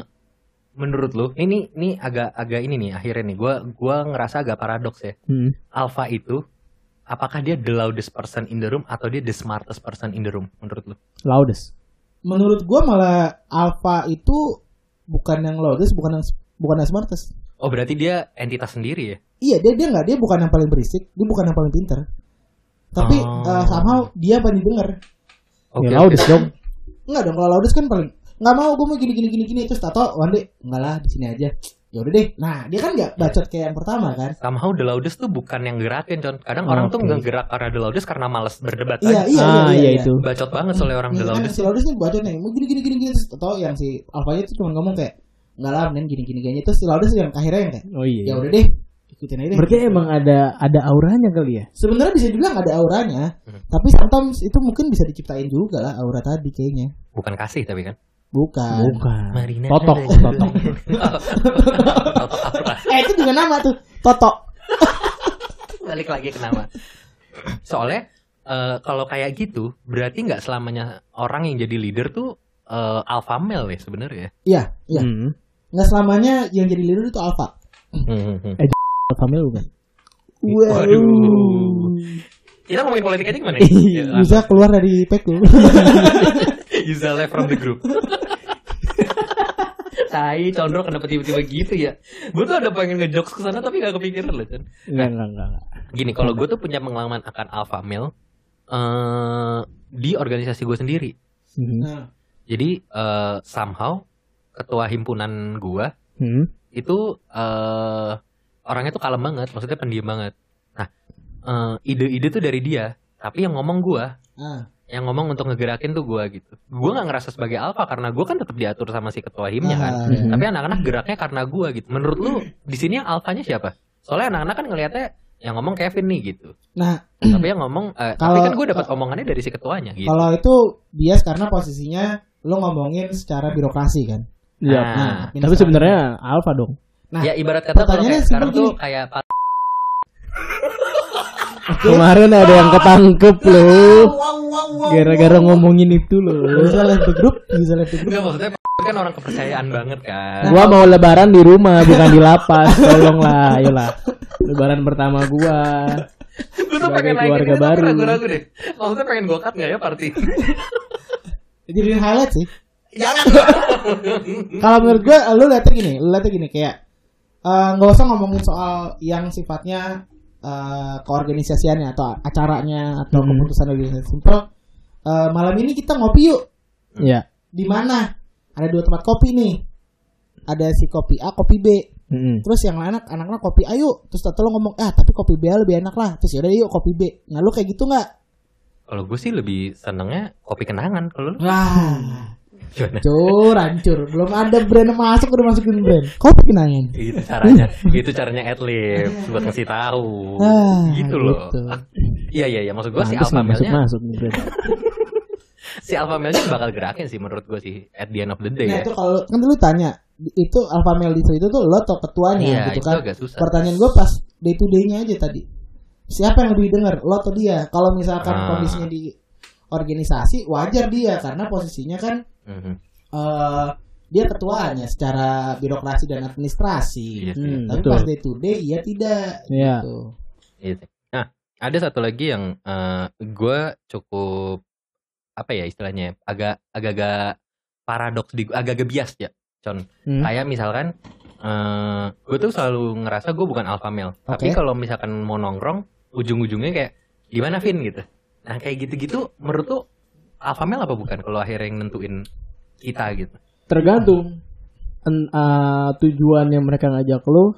Speaker 3: menurut lu ini ini agak agak ini nih akhirnya nih gua gua ngerasa agak paradoks ya.
Speaker 1: Hmm.
Speaker 3: alpha itu apakah dia the loudest person in the room atau dia the smartest person in the room menurut lu?
Speaker 1: Loudest.
Speaker 2: menurut gua malah alfa itu bukan yang loudest bukan yang bukan yang smartest
Speaker 3: Oh berarti dia entitas sendiri ya?
Speaker 2: iya dia dia nggak dia bukan yang paling berisik dia bukan yang paling pinter tapi
Speaker 3: Oh.
Speaker 2: eh, somehow dia paling denger
Speaker 1: Ya,
Speaker 3: Oke,
Speaker 1: loudest
Speaker 3: oke.
Speaker 1: dong.
Speaker 2: Enggak dong kalau Laudes kan paling nggak mau gue mau gini gini gini gini terus tato Wande enggak lah di sini aja. Ya udah deh. Nah, dia kan nggak bacot kayak yang pertama kan.
Speaker 3: Somehow the loudest tuh bukan yang gerakin, Con. Kadang
Speaker 1: Oh,
Speaker 3: orang tuh
Speaker 1: oke.
Speaker 3: nggak gerak karena the loudest karena males berdebat
Speaker 2: Iya,
Speaker 3: aja.
Speaker 2: iya,
Speaker 1: ah
Speaker 2: iya, iya, iya.
Speaker 1: itu.
Speaker 3: Bacot banget soalnya orang
Speaker 2: Iya
Speaker 3: the
Speaker 2: kan,
Speaker 3: loudest.
Speaker 2: si Laudes nih bacot nih mau gini gini gini gini terus tato yang si Alfanya tuh cuma ngomong kayak nggak lah mending gini gini gini terus Laudes yang akhirnya yang kayak
Speaker 1: Oh iya.
Speaker 2: ya udah deh ikutin aja deh
Speaker 1: Berarti emang ada ada auranya kali ya?
Speaker 2: sebenarnya bisa dibilang ada auranya
Speaker 3: Hmm.
Speaker 2: tapi sometimes itu mungkin bisa diciptain juga lah aura tadi kayaknya
Speaker 3: Bukan kasih tapi kan.
Speaker 2: bukan
Speaker 1: Bukan.
Speaker 3: Marina.
Speaker 1: Totok, <laughs> totok.
Speaker 2: eh itu juga nama tuh Toto
Speaker 3: Balik lagi ke nama. Soalnya eh, kalau kayak gitu berarti nggak selamanya orang yang jadi leader tuh eh, alpha male ya sebenarnya.
Speaker 2: iya iya
Speaker 1: Hmm.
Speaker 2: nggak selamanya yang jadi leader itu alpha
Speaker 1: Family bukan?
Speaker 2: Wow.
Speaker 3: Waduh. Kita ngomongin politik aja gimana? ya?
Speaker 2: Bisa keluar dari peku.
Speaker 1: <laughs>
Speaker 3: Yuza left Iya, from the group. Tai, Condro kenapa tiba-tiba gitu ya? Gue tuh ada pengen ngejokes ke sana tapi gak kepikiran loh, Chan.
Speaker 1: Enggak, enggak, enggak. enggak.
Speaker 3: Gini, kalau gue tuh punya pengalaman akan alpha male eh, di organisasi gue sendiri.
Speaker 1: Hmm.
Speaker 2: Nah,
Speaker 3: Jadi eh, somehow ketua himpunan gue
Speaker 1: Hmm.
Speaker 3: itu eh orangnya tuh kalem banget, maksudnya pendiam banget. Nah, eh, ide-ide tuh dari dia, tapi yang ngomong gue
Speaker 2: ah,
Speaker 3: yang ngomong untuk ngegerakin tuh gue gitu. Gue nggak ngerasa sebagai alpha karena gue kan tetap diatur sama si ketua himnya kan.
Speaker 2: ah,
Speaker 1: Hmm.
Speaker 3: Tapi anak-anak geraknya karena gue gitu. Menurut lu di sini yang alfanya siapa? Soalnya anak-anak kan ngelihatnya yang ngomong Kevin nih gitu.
Speaker 2: Nah.
Speaker 3: tapi yang ngomong, eh, tapi
Speaker 2: Kalau-
Speaker 3: kan gue dapat omongannya dari si ketuanya gitu.
Speaker 2: Kalau itu bias karena posisinya lo ngomongin secara birokrasi kan.
Speaker 1: Iya.
Speaker 3: Nah,
Speaker 2: Nah,
Speaker 1: Tapi sebenarnya alfa dong.
Speaker 2: Nah,
Speaker 3: ya ibarat kata kalau
Speaker 2: pertanyaannya
Speaker 3: kayak sekarang
Speaker 2: simpel
Speaker 3: tuh kayak Pak
Speaker 1: Kemarin ada yang ketangkep loh. Gara-gara ngomongin itu loh.
Speaker 2: bisa left the group, bisa left the group.
Speaker 3: Enggak maksudnya Pak kan orang kepercayaan banget kan.
Speaker 1: Gua mau lebaran di rumah bukan di <laughs> lapas. Tolonglah, ayolah. Lebaran pertama gua.
Speaker 3: Gue tuh
Speaker 1: Sebagai
Speaker 3: pengen naikin
Speaker 1: keluarga
Speaker 3: ini tapi
Speaker 1: baru.
Speaker 3: ragu-ragu deh. Maksudnya pengen gue cut nggak ya party?
Speaker 2: Jadi highlight sih.
Speaker 3: Jangan.
Speaker 2: Kalau menurut gue, lo liatnya gini, lo liatnya gini kayak eh, nggak usah ngomongin soal yang sifatnya eh, keorganisasiannya atau acaranya atau
Speaker 1: Hmm.
Speaker 2: keputusan organisasi. Simpel. eh, malam ini kita ngopi yuk.
Speaker 1: Ya.
Speaker 2: Di mana? Ada dua tempat kopi nih. Ada si kopi A, kopi B.
Speaker 1: Mm-mm.
Speaker 2: terus yang anak anaknya kopi ayo terus tante lo ngomong ah tapi kopi B lebih enak lah terus yaudah yuk kopi B nah lo kayak gitu nggak
Speaker 3: Kalau gue sih lebih senengnya kopi kenangan kalau lu.
Speaker 2: Wah,
Speaker 3: Gimana?
Speaker 2: cur, hancur. Belum ada brand yang masuk, udah masukin brand. Kopi kenangan.
Speaker 3: itu Gitu caranya itu caranya adlib buat ngasih tahu
Speaker 2: Ah,
Speaker 3: gitu loh
Speaker 2: gitu.
Speaker 3: iya iya iya maksud gue si
Speaker 1: Pantes
Speaker 3: alpha
Speaker 1: nggak masuk
Speaker 3: male-nya
Speaker 1: masuk nih. Brad.
Speaker 3: si alpha male-nya bakal gerakin sih menurut gue sih at the end of the day
Speaker 1: Iya,
Speaker 2: Nah
Speaker 3: ya
Speaker 2: itu kalau kan lu tanya di- itu alpha male itu itu tuh lo atau ketuanya
Speaker 3: iya
Speaker 2: gitu
Speaker 3: itu
Speaker 2: kan?
Speaker 3: agak susah
Speaker 2: Pertanyaan gue pas day to day-nya aja tadi. Siapa yang lebih denger, lo atau dia? Kalau misalkan
Speaker 3: Ah.
Speaker 2: kondisinya di organisasi, wajar dia karena posisinya kan
Speaker 3: Mhm.
Speaker 2: eh dia ketuanya secara birokrasi dan administrasi.
Speaker 3: Iya sih,
Speaker 1: Hmm,
Speaker 2: Tapi
Speaker 1: betul.
Speaker 2: pas day to day iya tidak.
Speaker 1: Iya.
Speaker 2: Tuh.
Speaker 3: iya sih. nah ada satu lagi yang gue cukup apa ya istilahnya agak agak-agak paradoks di agak-agak bias ya con
Speaker 1: Hmm.
Speaker 3: kayak misalkan gue tuh selalu ngerasa gue bukan alpha male tapi
Speaker 2: Oke.
Speaker 3: kalau misalkan mau nongkrong ujung-ujungnya kayak gimana Vin gitu nah kayak gitu-gitu menurut tuh alpha male apa bukan kalau akhirnya yang nentuin kita gitu
Speaker 1: Tergantung en- eh, tujuannya mereka ngajak lu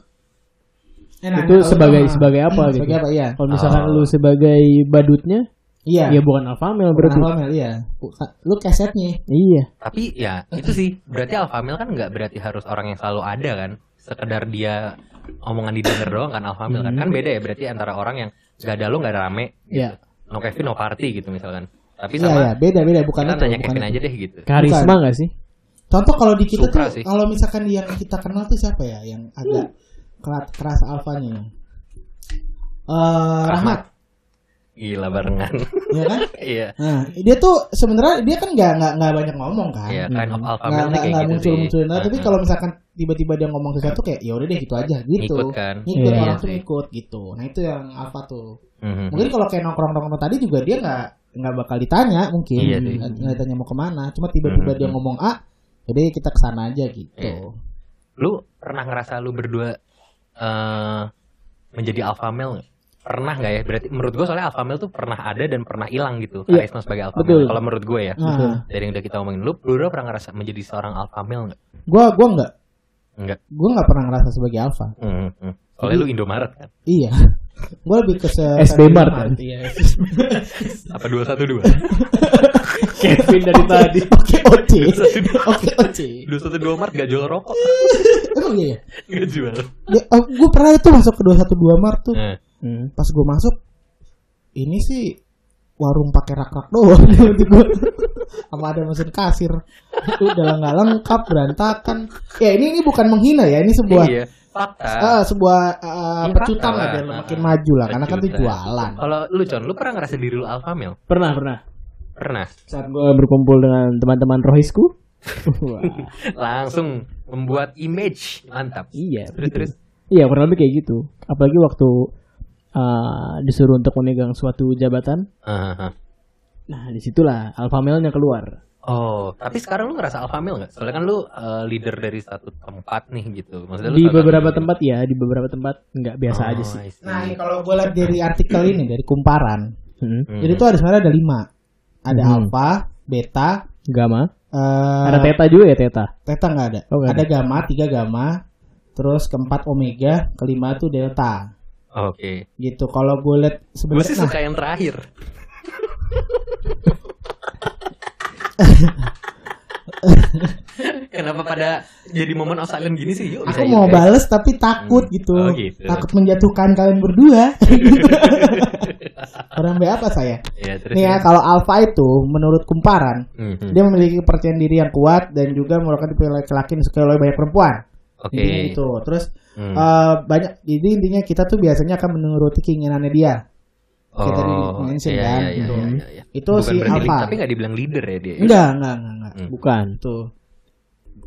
Speaker 2: Enak, Ah.
Speaker 1: itu
Speaker 2: kalau
Speaker 1: sebagai
Speaker 2: sama-
Speaker 1: Nah, sebagai apa gitu.
Speaker 2: Sebagai apa iya?
Speaker 1: Kalau misalkan
Speaker 3: Ah.
Speaker 1: lu sebagai badutnya,
Speaker 2: Iya.
Speaker 1: ya bukan alpha male berarti.
Speaker 2: Alpha male iya. Buka- Lu ya? kesetnya.
Speaker 1: Iya.
Speaker 3: tapi ya itu sih berarti
Speaker 2: Iya.
Speaker 3: alpha male kan nggak berarti harus orang yang selalu ada kan sekedar dia omongan didengar doang kan alpha male kan
Speaker 1: Hmm.
Speaker 3: kan beda ya berarti antara orang yang gak ada lo gak ada rame gitu.
Speaker 1: Iya.
Speaker 3: no Kevin no party gitu misalkan tapi
Speaker 2: Iya
Speaker 3: sama
Speaker 2: iya, beda beda bukan
Speaker 3: kita
Speaker 2: itu,
Speaker 3: tanya
Speaker 2: bukan
Speaker 3: Kevin
Speaker 2: itu.
Speaker 3: aja deh gitu
Speaker 1: Karisma nggak sih?
Speaker 2: Contoh kalau di kita
Speaker 3: Supra
Speaker 2: tuh
Speaker 3: sih. Hmm.
Speaker 2: kalau misalkan yang kita kenal tuh siapa ya yang agak keras, keras alfanya. Eh Rahmat,
Speaker 3: gila barengan <laughs>
Speaker 2: ya kan?
Speaker 3: iya
Speaker 2: Nah, dia tuh sebenarnya dia kan nggak nggak nggak banyak ngomong kan.
Speaker 3: Iya, kind of
Speaker 2: nggak
Speaker 3: alpha male tuh
Speaker 2: nggak
Speaker 3: kayak
Speaker 2: nggak nah,
Speaker 3: gitu
Speaker 2: muncul
Speaker 3: sih.
Speaker 2: munculin lagi, tapi
Speaker 3: Heeh.
Speaker 2: kalau misalkan tiba-tiba dia ngomong sesuatu kayak ya udah deh gitu aja gitu
Speaker 3: Ngikut kan.
Speaker 2: ngikut
Speaker 1: Iya,
Speaker 2: orang
Speaker 3: iya
Speaker 2: tuh
Speaker 3: sih.
Speaker 2: ngikut gitu nah itu yang apa tuh
Speaker 3: Mhm.
Speaker 2: mungkin kalau kayak nongkrong nongkrong tadi juga dia nggak nggak bakal ditanya mungkin
Speaker 3: Iya sih.
Speaker 2: nggak nggak ditanya mau kemana cuma tiba-tiba
Speaker 3: Mhm.
Speaker 2: dia ngomong a jadi kita kesana aja gitu
Speaker 3: Iya. lu pernah ngerasa lu berdua eh menjadi alpha male nggak? pernah nggak ya berarti menurut gue soalnya alpha male tuh pernah ada dan pernah hilang gitu
Speaker 1: Iya.
Speaker 3: karisma sebagai alpha
Speaker 1: Betul.
Speaker 3: male kalau menurut gue ya
Speaker 2: nah
Speaker 3: dari yang udah kita omongin lu berdua pernah ngerasa menjadi seorang alpha male nggak
Speaker 2: gue gue nggak
Speaker 3: Nggak.
Speaker 2: gue nggak pernah ngerasa sebagai alfa
Speaker 3: Mhm, mhm. soalnya lu Indomaret kan
Speaker 2: iya <laughs> gue lebih ke se-
Speaker 1: SD Iya, Mart,
Speaker 2: Mart,
Speaker 1: kan?
Speaker 2: iya. <laughs>
Speaker 3: apa dua satu dua
Speaker 1: Kevin dari tadi.
Speaker 2: Oke OC.
Speaker 3: dua
Speaker 2: Oke OC.
Speaker 3: satu dua mart gak jual rokok
Speaker 2: Emang iya ya?
Speaker 3: nggak jual
Speaker 2: ya gue pernah itu masuk ke 212 Mart tuh.
Speaker 3: Eh,
Speaker 1: Hmm.
Speaker 2: Pas gue masuk, ini sih warung pakai rak-rak doang <laughs> menurut gua. Sama ada mesin kasir. Itu udah nggak lengkap, berantakan. Ya ini ini bukan menghina ya, ini sebuah
Speaker 3: iya fakta
Speaker 2: eh, sebuah eh,
Speaker 3: Ini
Speaker 2: pecutan
Speaker 3: fakta
Speaker 2: lah
Speaker 3: lah.
Speaker 2: biar lu makin maju lah karena kan itu
Speaker 3: Pecutan.
Speaker 2: jualan.
Speaker 3: kalau lu con lu pernah ngerasa diri lu alfamil
Speaker 1: Pernah, pernah.
Speaker 3: pernah
Speaker 1: Saat gue berkumpul dengan teman-teman
Speaker 3: <laughs>
Speaker 1: rohisku. Wah,
Speaker 3: langsung membuat image mantap
Speaker 1: iya.
Speaker 3: terus terus
Speaker 1: Iya, kurang lebih kayak gitu. Apalagi waktu eh, disuruh untuk memegang suatu jabatan.
Speaker 3: Ah, ah, ah.
Speaker 1: Nah, disitulah alpha male-nya keluar.
Speaker 3: Oh, tapi sekarang lu ngerasa alpha male nggak? Soalnya kan lu eh, leader dari satu tempat nih gitu. Maksudnya lu
Speaker 1: Di
Speaker 3: salah
Speaker 1: beberapa
Speaker 3: satu-
Speaker 1: tempat ya, di beberapa tempat nggak biasa
Speaker 3: Oh,
Speaker 1: aja sih.
Speaker 3: I see.
Speaker 2: Nah, ini kalau gue lihat dari artikel ini dari kumparan,
Speaker 1: Hmm.
Speaker 3: Hmm.
Speaker 2: jadi tuh ada sebenarnya ada lima. Ada
Speaker 1: Hmm.
Speaker 2: alfa, beta,
Speaker 1: Gamma.
Speaker 2: eh,
Speaker 1: Ada teta juga ya teta.
Speaker 2: Teta nggak ada.
Speaker 1: Oh, nggak
Speaker 2: ada gamma, tiga gamma, terus keempat omega, kelima tuh delta.
Speaker 3: Oke.
Speaker 2: Gitu. Kalau gue lihat
Speaker 3: Gue
Speaker 2: sebenarnya
Speaker 3: sih
Speaker 2: nah,
Speaker 3: suka yang
Speaker 2: <laughs>
Speaker 3: terakhir. Kenapa pada jadi momen of silence gini sih? Yuk,
Speaker 2: nah,
Speaker 3: bisa
Speaker 2: aku
Speaker 3: yuk,
Speaker 2: mau
Speaker 3: guys.
Speaker 2: bales tapi takut
Speaker 3: Hmm.
Speaker 2: gitu.
Speaker 3: Oh, gitu.
Speaker 2: Takut menjatuhkan kalian
Speaker 3: <laughs>
Speaker 2: berdua. Orang B apa saya?
Speaker 3: Ya, terus.
Speaker 2: Nih ya kalau alfa itu menurut kumparan
Speaker 3: Mhm.
Speaker 2: dia memiliki kepercayaan diri yang kuat dan juga merupakan tipe laki-laki yang disukai oleh banyak perempuan.
Speaker 3: Oke.
Speaker 2: Intinya gitu. Terus
Speaker 3: Hmm.
Speaker 2: eh, banyak jadi intinya kita tuh biasanya akan menuruti keinginannya dia. kita di
Speaker 3: Oh,
Speaker 2: mention
Speaker 3: iya,
Speaker 2: kan,
Speaker 3: iya, iya,
Speaker 2: gitu.
Speaker 3: iya, iya, iya.
Speaker 2: Itu
Speaker 3: Bukan
Speaker 2: si
Speaker 3: berarti lead,
Speaker 2: alpha.
Speaker 3: Tapi nggak dibilang leader ya dia.
Speaker 2: Enggak, enggak, enggak, enggak.
Speaker 3: Hmm.
Speaker 1: Bukan.
Speaker 2: Gitu.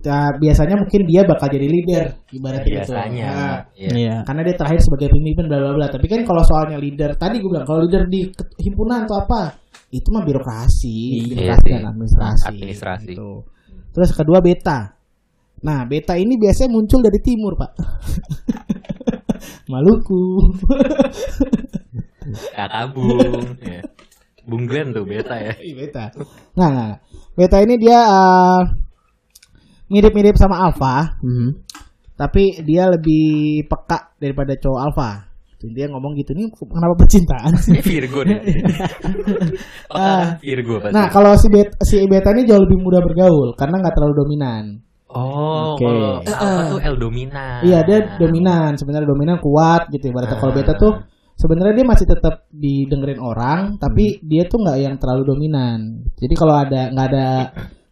Speaker 2: Nah, biasanya mungkin dia bakal jadi leader ibaratnya gitu.
Speaker 3: Biasanya.
Speaker 2: Nah,
Speaker 3: Iya.
Speaker 1: Iya.
Speaker 2: karena dia terakhir sebagai pemimpin bla bla bla. Tapi kan kalau soalnya leader tadi gue bilang kalau leader di ket- himpunan atau apa itu mah birokrasi,
Speaker 3: Iya
Speaker 2: birokrasi
Speaker 3: sih.
Speaker 2: dan administrasi.
Speaker 3: Administrasi.
Speaker 2: Gitu. Terus kedua beta. Nah, beta ini biasanya muncul dari timur, Pak. <laughs> Maluku. <laughs>
Speaker 3: Kakak Bung. Ah, <laughs> Iya. Bung Glenn tuh beta
Speaker 2: <laughs>
Speaker 3: ya.
Speaker 2: Ih, beta. Nah, nah, nah. beta ini dia eh, mirip-mirip sama alfa,
Speaker 1: Mhm.
Speaker 2: tapi dia lebih peka daripada cowok alfa Tuh, dia ngomong gitu nih kenapa percintaan sih?"
Speaker 3: Ini Eh, Virgo
Speaker 2: <laughs>
Speaker 3: nih.
Speaker 2: Ah.
Speaker 3: Apakah Virgo pasti.
Speaker 2: nah kalau si beta, si beta ini jauh lebih mudah bergaul karena nggak terlalu dominan
Speaker 3: Oh,
Speaker 1: Oke.
Speaker 3: kalau Alpha tuh L
Speaker 2: Ah.
Speaker 3: dominan.
Speaker 2: iya dia dominan sebenarnya dominan kuat gitu ibaratnya kalau beta tuh sebenarnya dia masih tetap didengerin orang tapi dia tuh nggak yang terlalu dominan jadi kalau ada nggak ada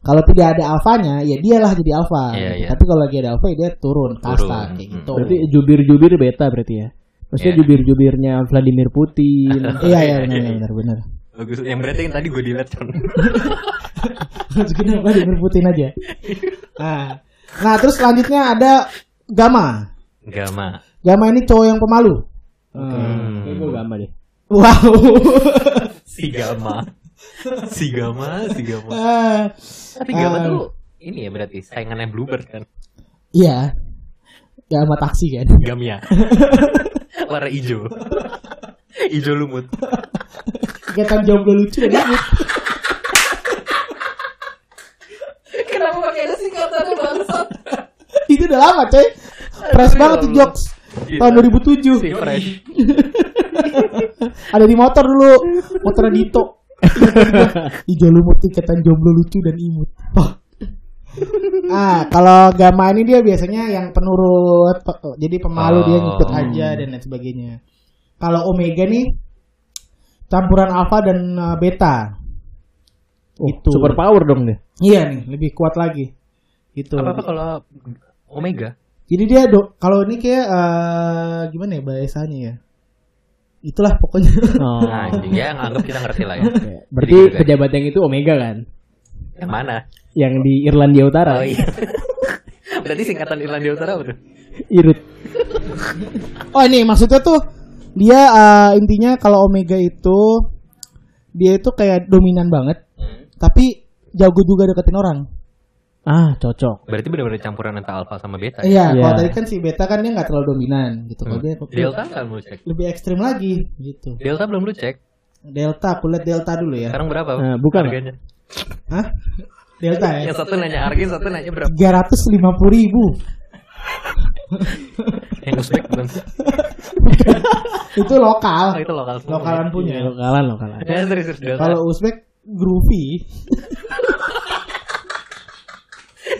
Speaker 2: kalau tidak ada alfanya ya dialah jadi alfa
Speaker 3: Iya,
Speaker 2: gitu.
Speaker 3: iya.
Speaker 2: tapi kalau lagi ada alfa ya dia turun kasta
Speaker 3: Turun.
Speaker 2: kayak
Speaker 3: Hmm.
Speaker 2: gitu
Speaker 1: Berarti jubir-jubir beta berarti ya. Maksudnya
Speaker 3: Iya.
Speaker 1: jubir-jubirnya Vladimir
Speaker 3: <laughs>
Speaker 1: Putin.
Speaker 2: iya iya benar benar benar
Speaker 3: Bagus. Yang berarti yang tadi gue dilihat
Speaker 2: <laughs>
Speaker 3: kan.
Speaker 2: masukin apa diberputin aja nah nah terus selanjutnya ada Gama
Speaker 3: Gama.
Speaker 2: Gama ini cowok yang pemalu Ah.
Speaker 1: Hmm. Kayak gue gambar deh.
Speaker 2: <laughs> wow
Speaker 3: Si Gama. Si Gama, si Gama.
Speaker 2: Eh,
Speaker 3: Tapi Gama
Speaker 2: Ah.
Speaker 3: tuh ini ya berarti saingannya Bluebird kan.
Speaker 2: iya Gama taksi kan <laughs>
Speaker 3: Gamia. Warna hijau. Ijo lumut.
Speaker 2: kegiatan jomblo lucu ya, dan imut.
Speaker 3: Kenapa pakai singkatannya bangsat?
Speaker 2: itu udah lama coy fresh banget tuh jokes tahun 2007
Speaker 3: Si Fresh.
Speaker 2: <laughs> ada di motor dulu motor Dito hijau lumut ikatan jomblo lucu dan imut Wah. ah kalau Gama ini dia biasanya yang penurut pe- oh, jadi pemalu dia ngikut
Speaker 3: Oh.
Speaker 2: aja dan lain sebagainya kalau Omega nih campuran alfa dan eh, beta
Speaker 1: Oh,
Speaker 2: Itu.
Speaker 1: super power dong deh.
Speaker 2: iya nih lebih kuat lagi gitu
Speaker 3: Apa-apa kalau Omega?
Speaker 2: jadi dia do- kalau ini kayak eh, gimana ya bahasanya ya itulah pokoknya
Speaker 1: <laughs> Oh.
Speaker 3: Nah, anjing ya nganggap kita ngerti lah ya.
Speaker 1: Oke. Berarti
Speaker 3: Jadi gitu ya.
Speaker 1: pejabat yang itu Omega kan?
Speaker 3: Yang mana?
Speaker 1: Yang di Irlandia Utara.
Speaker 3: Oh iya. <laughs> Berarti singkatan Irlandia Utara apa tuh?
Speaker 1: Irut.
Speaker 2: Oh ini maksudnya tuh dia eh, intinya kalau Omega itu dia itu kayak dominan banget, tapi jago juga deketin orang.
Speaker 1: Ah, cocok.
Speaker 3: Berarti benar-benar campuran antara alfa sama beta. ya?
Speaker 2: Iya, kalau
Speaker 1: Iya.
Speaker 2: tadi kan si Beta kan dia nggak terlalu dominan gitu, kalau dia
Speaker 3: Delta kan lu cek.
Speaker 2: lebih ekstrim lagi gitu.
Speaker 3: Delta belum lu cek.
Speaker 2: Delta, aku lihat Delta dulu ya.
Speaker 3: Sekarang berapa?
Speaker 1: Eh, bukan,
Speaker 3: harganya.
Speaker 2: Hah? Delta ya.
Speaker 3: Eh, Yang satu nanya harga, yang satu nanya berapa.
Speaker 2: Tiga ratus lima puluh
Speaker 3: <laughs>
Speaker 2: ribu.
Speaker 3: Yang Uzbek belum.
Speaker 2: Itu
Speaker 3: Oh,
Speaker 2: lokal,
Speaker 3: itu lokal semua.
Speaker 2: lokalan punya.
Speaker 1: Lokalan, lokalan.
Speaker 3: Iya. Ya, serius, serius, Delta.
Speaker 2: Kalau Uzbek groovy.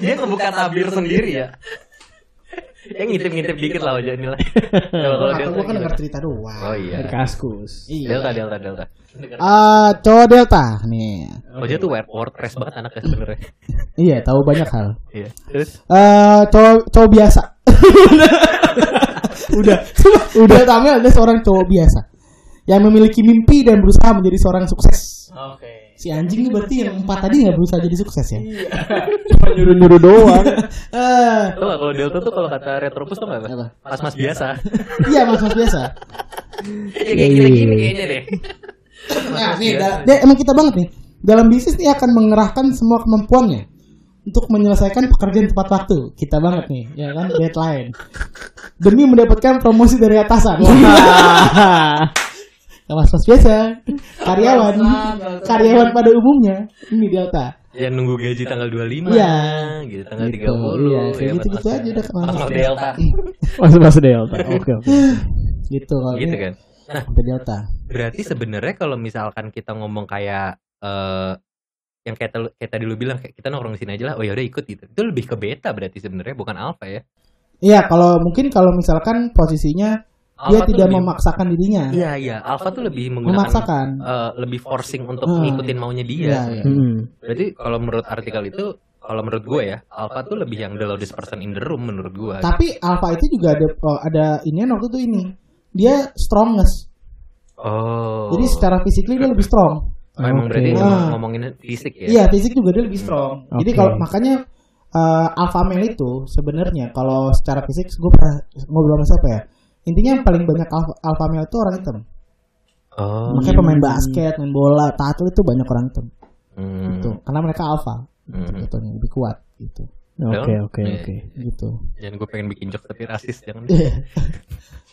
Speaker 3: Dia ngebuka tabir sendiri ya. Ya ngintip-ngintip dikit lah wajah
Speaker 2: <laughs>
Speaker 3: ini lah. Kalau kalau
Speaker 2: Kakak
Speaker 3: Oh,
Speaker 2: gua
Speaker 3: Delta
Speaker 2: kan
Speaker 3: gimana?
Speaker 2: denger cerita doang.
Speaker 3: Oh iya.
Speaker 1: Dari kaskus.
Speaker 2: Iya.
Speaker 3: Delta Delta Delta.
Speaker 2: Ah, cowok Delta nih.
Speaker 3: Wajah tuh web WordPress banget anaknya <laughs> sebenarnya.
Speaker 2: Iya, tahu banyak hal.
Speaker 3: Iya. Terus
Speaker 2: Eh, cowok cowok biasa. udah, udah Tamil ada seorang cowok biasa yang memiliki mimpi dan berusaha menjadi seorang sukses.
Speaker 4: Oke.
Speaker 2: Si anjing ini berarti yang empat tadi nggak berusaha jadi sukses ya? <laughs>
Speaker 1: Cuma nyuruh-nyuruh <laughs> doang.
Speaker 2: Eh,
Speaker 3: tuh kalau Delta tuh kalau kata Retropus tuh enggak
Speaker 2: Apa?
Speaker 3: apa? Mas-mas <laughs> biasa.
Speaker 2: iya mas mas biasa.
Speaker 3: Ya kayak gini-gini kayaknya deh.
Speaker 2: <laughs> Nah, nih, da- dia emang kita banget nih. Dalam bisnis dia akan mengerahkan semua kemampuannya untuk menyelesaikan pekerjaan tepat waktu. Kita banget nih, ya kan deadline. Demi mendapatkan promosi dari atasan. Nah, mas mas biasa, karyawan, karyawan pada umumnya ini delta.
Speaker 3: Ya nunggu gaji tanggal 25
Speaker 2: Iya.
Speaker 3: gitu tanggal
Speaker 2: Gitu, iya, kayak
Speaker 3: 30
Speaker 2: gitu-gitu
Speaker 3: mas-
Speaker 2: aja udah kenal.
Speaker 3: mas- mas Delta
Speaker 1: Mas-mas Delta. Oke, oke.
Speaker 2: Gitu kalau
Speaker 3: gitu
Speaker 2: dia
Speaker 3: kan.
Speaker 2: sampai delta.
Speaker 3: Berarti sebenarnya kalau misalkan kita ngomong kayak eh yang kayak, tel- kayak tadi lu bilang kayak kita nongkrong di sini aja lah. Oh ya udah ikut gitu. Itu lebih ke beta berarti sebenarnya bukan alpha ya.
Speaker 2: Iya, kalau mungkin kalau misalkan posisinya dia
Speaker 3: Alpha tuh
Speaker 2: Iya, tidak
Speaker 3: lebih-
Speaker 2: memaksakan dirinya,
Speaker 3: Iya iya, alpha tuh lebih menggunakan
Speaker 2: memaksakan.
Speaker 3: eh, lebih forcing untuk
Speaker 2: Hmm.
Speaker 3: ngikutin maunya dia.
Speaker 2: Iya, iya.
Speaker 1: Hmm.
Speaker 3: Berarti kalau menurut artikel itu kalau menurut gue ya, alpha tuh lebih yang the loudest person in the room menurut gue.
Speaker 2: Tapi Alpha itu juga ada oh, ada ini waktu itu ini. Dia strongest.
Speaker 3: Oh.
Speaker 2: Jadi secara physically dia lebih strong.
Speaker 3: Oh, emang berarti
Speaker 2: Oke.
Speaker 3: ngomong-
Speaker 2: Ah.
Speaker 3: ngomongin fisik ya.
Speaker 2: Iya, fisik juga dia lebih strong. Jadi
Speaker 1: Oke.
Speaker 2: kalau makanya eh, alpha male itu sebenarnya kalau secara fisik gue pernah ngobrol sama siapa ya? Intinya yang paling banyak alpha, alpha male itu orang hitam.
Speaker 3: Oh.
Speaker 2: Makanya pemain basket, main bola, tackle itu banyak orang hitam.
Speaker 3: Hmm.
Speaker 2: Gitu. Karena mereka alpha. Gitu,
Speaker 3: Hmm.
Speaker 2: contohnya, lebih kuat gitu.
Speaker 1: Oke, oke, oke.
Speaker 3: <laughs>
Speaker 2: Gitu.
Speaker 3: Jangan gue pengen bikin jokes tapi rasis jangan.
Speaker 2: Iya,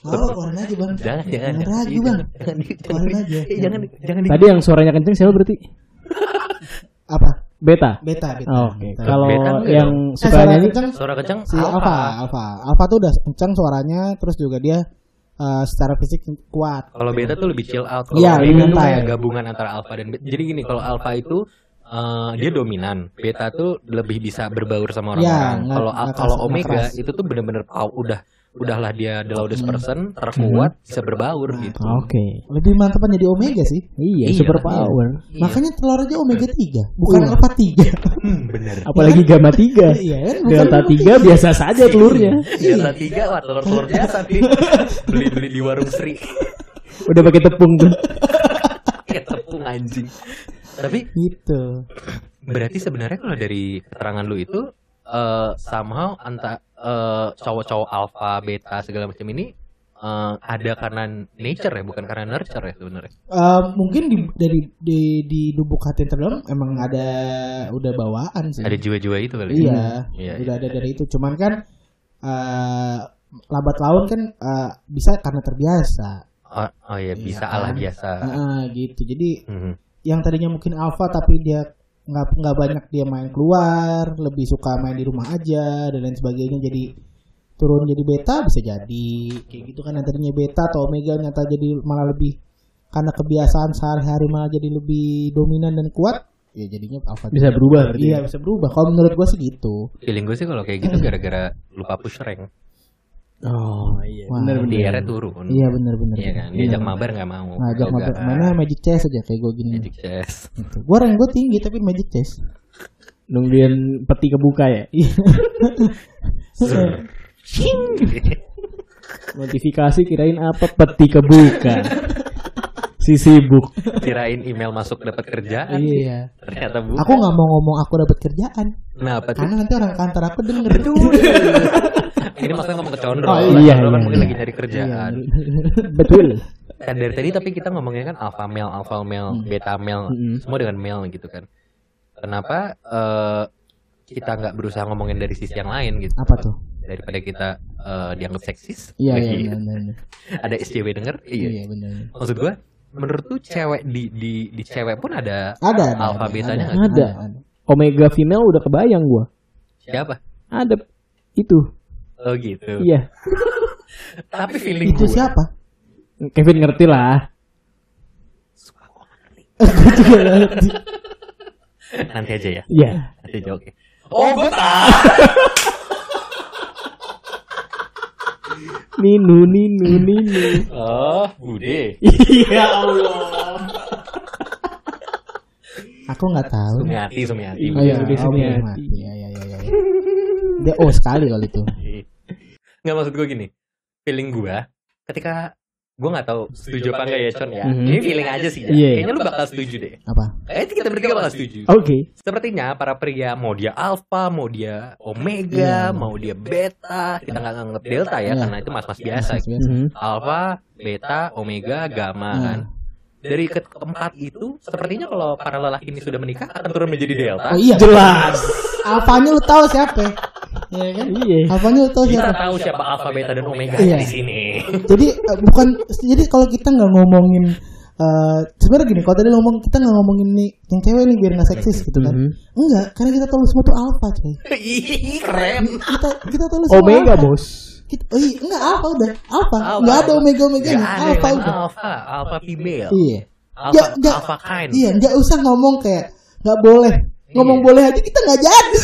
Speaker 2: Oh, keluarin aja bang.
Speaker 3: Jangan, jangan.
Speaker 2: Keluarin aja bang. Keluarin aja.
Speaker 3: Eh, <laughs> jangan, jangan.
Speaker 1: Tadi yang suaranya kenceng siapa berarti?
Speaker 2: Apa?
Speaker 1: Beta.
Speaker 2: Beta. beta.
Speaker 1: Oh, Oke.
Speaker 2: Beta.
Speaker 1: Kalau
Speaker 3: Beta enggak
Speaker 1: yang
Speaker 2: Eh, suara
Speaker 1: sukanya ini
Speaker 2: kenceng
Speaker 3: Suara kencang.
Speaker 2: si Alpha. Alpha, Alpha, tuh udah kencang suaranya, terus juga dia eh, secara fisik kuat.
Speaker 3: Kalau beta tuh lebih chill out. Kalau
Speaker 2: Iya,
Speaker 3: beta
Speaker 2: lebih
Speaker 3: tuh
Speaker 2: santai.
Speaker 3: kayak gabungan antara alpha dan beta. Jadi gini, kalau alpha itu eh, dia dominan, beta tuh lebih bisa berbaur sama
Speaker 2: Iya,
Speaker 3: orang-orang.
Speaker 2: nggak-
Speaker 3: Kalau
Speaker 2: nggak
Speaker 3: kalau
Speaker 2: keras- nggak
Speaker 3: omega
Speaker 2: keras.
Speaker 3: itu tuh bener-bener pau udah udahlah dia the loudest person, terkuat, bisa berbaur
Speaker 2: Nah,
Speaker 3: gitu.
Speaker 1: Oke.
Speaker 2: Lebih mantapan jadi Omega sih.
Speaker 1: Iya,
Speaker 3: Iya,
Speaker 1: super power.
Speaker 3: Iya.
Speaker 2: Makanya telur aja Omega 3, bukan Alpha 3.
Speaker 3: Hmm, bener.
Speaker 1: Apalagi gamma 3.
Speaker 2: Iya kan? Bukan
Speaker 1: Delta 3 biasa saja
Speaker 2: ya?
Speaker 1: telurnya.
Speaker 3: Delta tiga wah telur-telur <laughs> biasa nih. Beli-beli di warung Sri. <laughs>
Speaker 1: Udah pakai tepung tuh.
Speaker 3: Kayak tepung anjing. Tapi
Speaker 2: <laughs> gitu.
Speaker 3: berarti sebenarnya kalau dari keterangan lu itu eh somehow anta eh, cowok-cowok alfa, beta segala macam ini eh, ada karena nature ya, bukan karena nurture ya sebenarnya.
Speaker 2: Eh, mungkin di, dari di, di lubuk hati yang terdalam emang ada udah bawaan sih.
Speaker 3: Ada jiwa-jiwa itu kali. ya?
Speaker 2: Iya,
Speaker 3: Iya,
Speaker 2: udah ada dari itu. Cuman kan eh, lambat laun kan eh, bisa karena terbiasa.
Speaker 3: Oh, oh iya, bisa
Speaker 2: Iya,
Speaker 3: ala
Speaker 2: kan?
Speaker 3: biasa.
Speaker 2: Heeh, gitu. Jadi
Speaker 3: Mhm.
Speaker 2: yang tadinya mungkin alpha tapi dia nggak nggak banyak dia main keluar lebih suka main di rumah aja dan lain sebagainya jadi turun jadi beta bisa jadi kayak gitu kan yang tadinya beta atau omega nyata jadi malah lebih karena kebiasaan sehari-hari malah jadi lebih dominan dan kuat ya jadinya alpha
Speaker 1: Bisa berubah berarti. ya?
Speaker 2: iya bisa berubah kalau menurut gua sih gitu
Speaker 3: Feeling gue sih kalau kayak gitu gara-gara lupa push rank.
Speaker 1: Oh, iya.
Speaker 2: Wah,
Speaker 1: Bener bener.
Speaker 3: Di era turun.
Speaker 2: iya Nah, bener-bener
Speaker 3: Iya kan,
Speaker 2: Bener.
Speaker 3: diajak mabar nggak mau.
Speaker 2: ngajak
Speaker 3: Yoga.
Speaker 2: mabar
Speaker 1: eh,
Speaker 2: mana magic chess aja kayak gua gini
Speaker 3: Magic
Speaker 2: <laughs>
Speaker 3: chess. <laughs>
Speaker 2: gitu. gua rank gua tinggi tapi magic chess
Speaker 1: Nungguin peti kebuka ya.
Speaker 3: Zer.
Speaker 1: Notifikasi kirain apa peti kebuka. Si sibuk.
Speaker 3: Kirain email masuk dapat kerjaan.
Speaker 2: <laughs> iya
Speaker 3: Ternyata bu.
Speaker 2: aku nggak mau ngomong aku dapat kerjaan
Speaker 3: Nah, apa tuh?
Speaker 2: karena nanti orang kantor aku denger <laughs>
Speaker 3: Ini maksudnya kan ngomong ke Condro.
Speaker 1: Oh,
Speaker 3: Orang
Speaker 1: iya,
Speaker 3: Condro kan
Speaker 1: iya,
Speaker 3: mungkin
Speaker 1: iya.
Speaker 3: lagi cari kerjaan.
Speaker 1: Betul.
Speaker 3: Kan dari tadi tapi kita ngomongnya kan alpha male, alpha male, beta male,
Speaker 1: Mm-mm.
Speaker 3: semua dengan male gitu kan. Kenapa eh, kita nggak berusaha ngomongin dari sisi yang lain gitu?
Speaker 2: apa tuh
Speaker 3: Daripada kita eh, dianggap seksis.
Speaker 2: iya iya
Speaker 3: lagi
Speaker 2: benar benar
Speaker 3: <laughs> Ada SJW denger? Iya.
Speaker 2: iya benar benar.
Speaker 3: Maksud gua menurut tuh cewek di di di cewek pun ada
Speaker 2: ada ada
Speaker 3: Alpha
Speaker 2: ada,
Speaker 3: betanya
Speaker 2: ada,
Speaker 1: nggak?
Speaker 2: ada,
Speaker 1: Ada.
Speaker 2: ada.
Speaker 1: Omega female udah kebayang gua.
Speaker 3: siapa?
Speaker 1: Ada itu.
Speaker 3: Oh gitu.
Speaker 1: Iya.
Speaker 3: Tapi feeling
Speaker 2: itu
Speaker 3: gua
Speaker 2: siapa
Speaker 1: Kevin ngerti lah.
Speaker 2: Gua juga nggak ngerti.
Speaker 3: Nanti aja ya.
Speaker 1: Iya.
Speaker 3: Nanti aja oke. Oh, gue tahu.
Speaker 1: Ninu ninu ninu.
Speaker 3: Oh, Bude.
Speaker 1: Iya Allah.
Speaker 2: Aku nggak tahu.
Speaker 3: Sumiati, Sumiati.
Speaker 1: Iya,
Speaker 2: Oh iya,
Speaker 1: udah
Speaker 2: oh,
Speaker 1: sini
Speaker 2: belum
Speaker 1: hati.
Speaker 2: mati. Iya, iya, iya, iya. <laughs> Dia oh sekali kalau itu.
Speaker 3: Nggak maksud gue gini. Feeling gue ketika gue nggak tahu setuju apa enggak ya Con ya.
Speaker 1: Mhm.
Speaker 3: Ini feeling aja sih. Ya.
Speaker 1: Iya.
Speaker 3: Kayaknya lu bakal setuju deh.
Speaker 2: Apa?
Speaker 3: Kayaknya kita bertiga bakal setuju.
Speaker 1: Oke.
Speaker 3: Sepertinya para pria mau dia alpha, mau dia
Speaker 2: Iya.
Speaker 3: omega, mau dia beta, kita nggak nganggap delta ya
Speaker 2: Iya.
Speaker 3: karena itu mas-mas biasa.
Speaker 2: Biasa.
Speaker 1: Mhm.
Speaker 3: Alpha, beta, omega, gamma
Speaker 2: Nah.
Speaker 3: kan. Dari ke- keempat itu, sepertinya kalau para lelaki ini sudah menikah akan turun menjadi
Speaker 2: Oh
Speaker 3: delta.
Speaker 2: iya.
Speaker 1: Jelas.
Speaker 2: Apanya lu tahu siapa? Iya kan?
Speaker 1: Iya.
Speaker 2: Apanya lu tahu
Speaker 3: Kita
Speaker 2: siapa?
Speaker 3: tahu siapa alpha, beta dan omega
Speaker 2: Iya.
Speaker 3: di sini.
Speaker 2: Jadi eh, bukan jadi kalau kita nggak ngomongin eh sebenarnya gini, kalau tadi lu ngomong kita nggak ngomongin nih yang cewek nih biar nggak seksis gitu kan?
Speaker 1: Mhm.
Speaker 2: Enggak, karena kita tahu semua tuh alpha coy.
Speaker 3: Ih, keren.
Speaker 2: Kita kita tahu semua.
Speaker 1: Omega
Speaker 2: alpha.
Speaker 1: bos.
Speaker 2: Kita, oh iya, enggak alpha udah alpha.
Speaker 3: Alpha.
Speaker 2: Enggak ada omega omega
Speaker 3: Gak ada
Speaker 2: alpha
Speaker 3: yang
Speaker 2: udah.
Speaker 3: alpha, alpha female,
Speaker 2: Iya.
Speaker 3: alpha,
Speaker 2: Ya, ya.
Speaker 3: alpha kind.
Speaker 2: Iya, nggak usah ngomong kayak nggak boleh. Ngomong
Speaker 3: Iya.
Speaker 2: boleh aja kita nggak
Speaker 3: <laughs>
Speaker 2: jadi.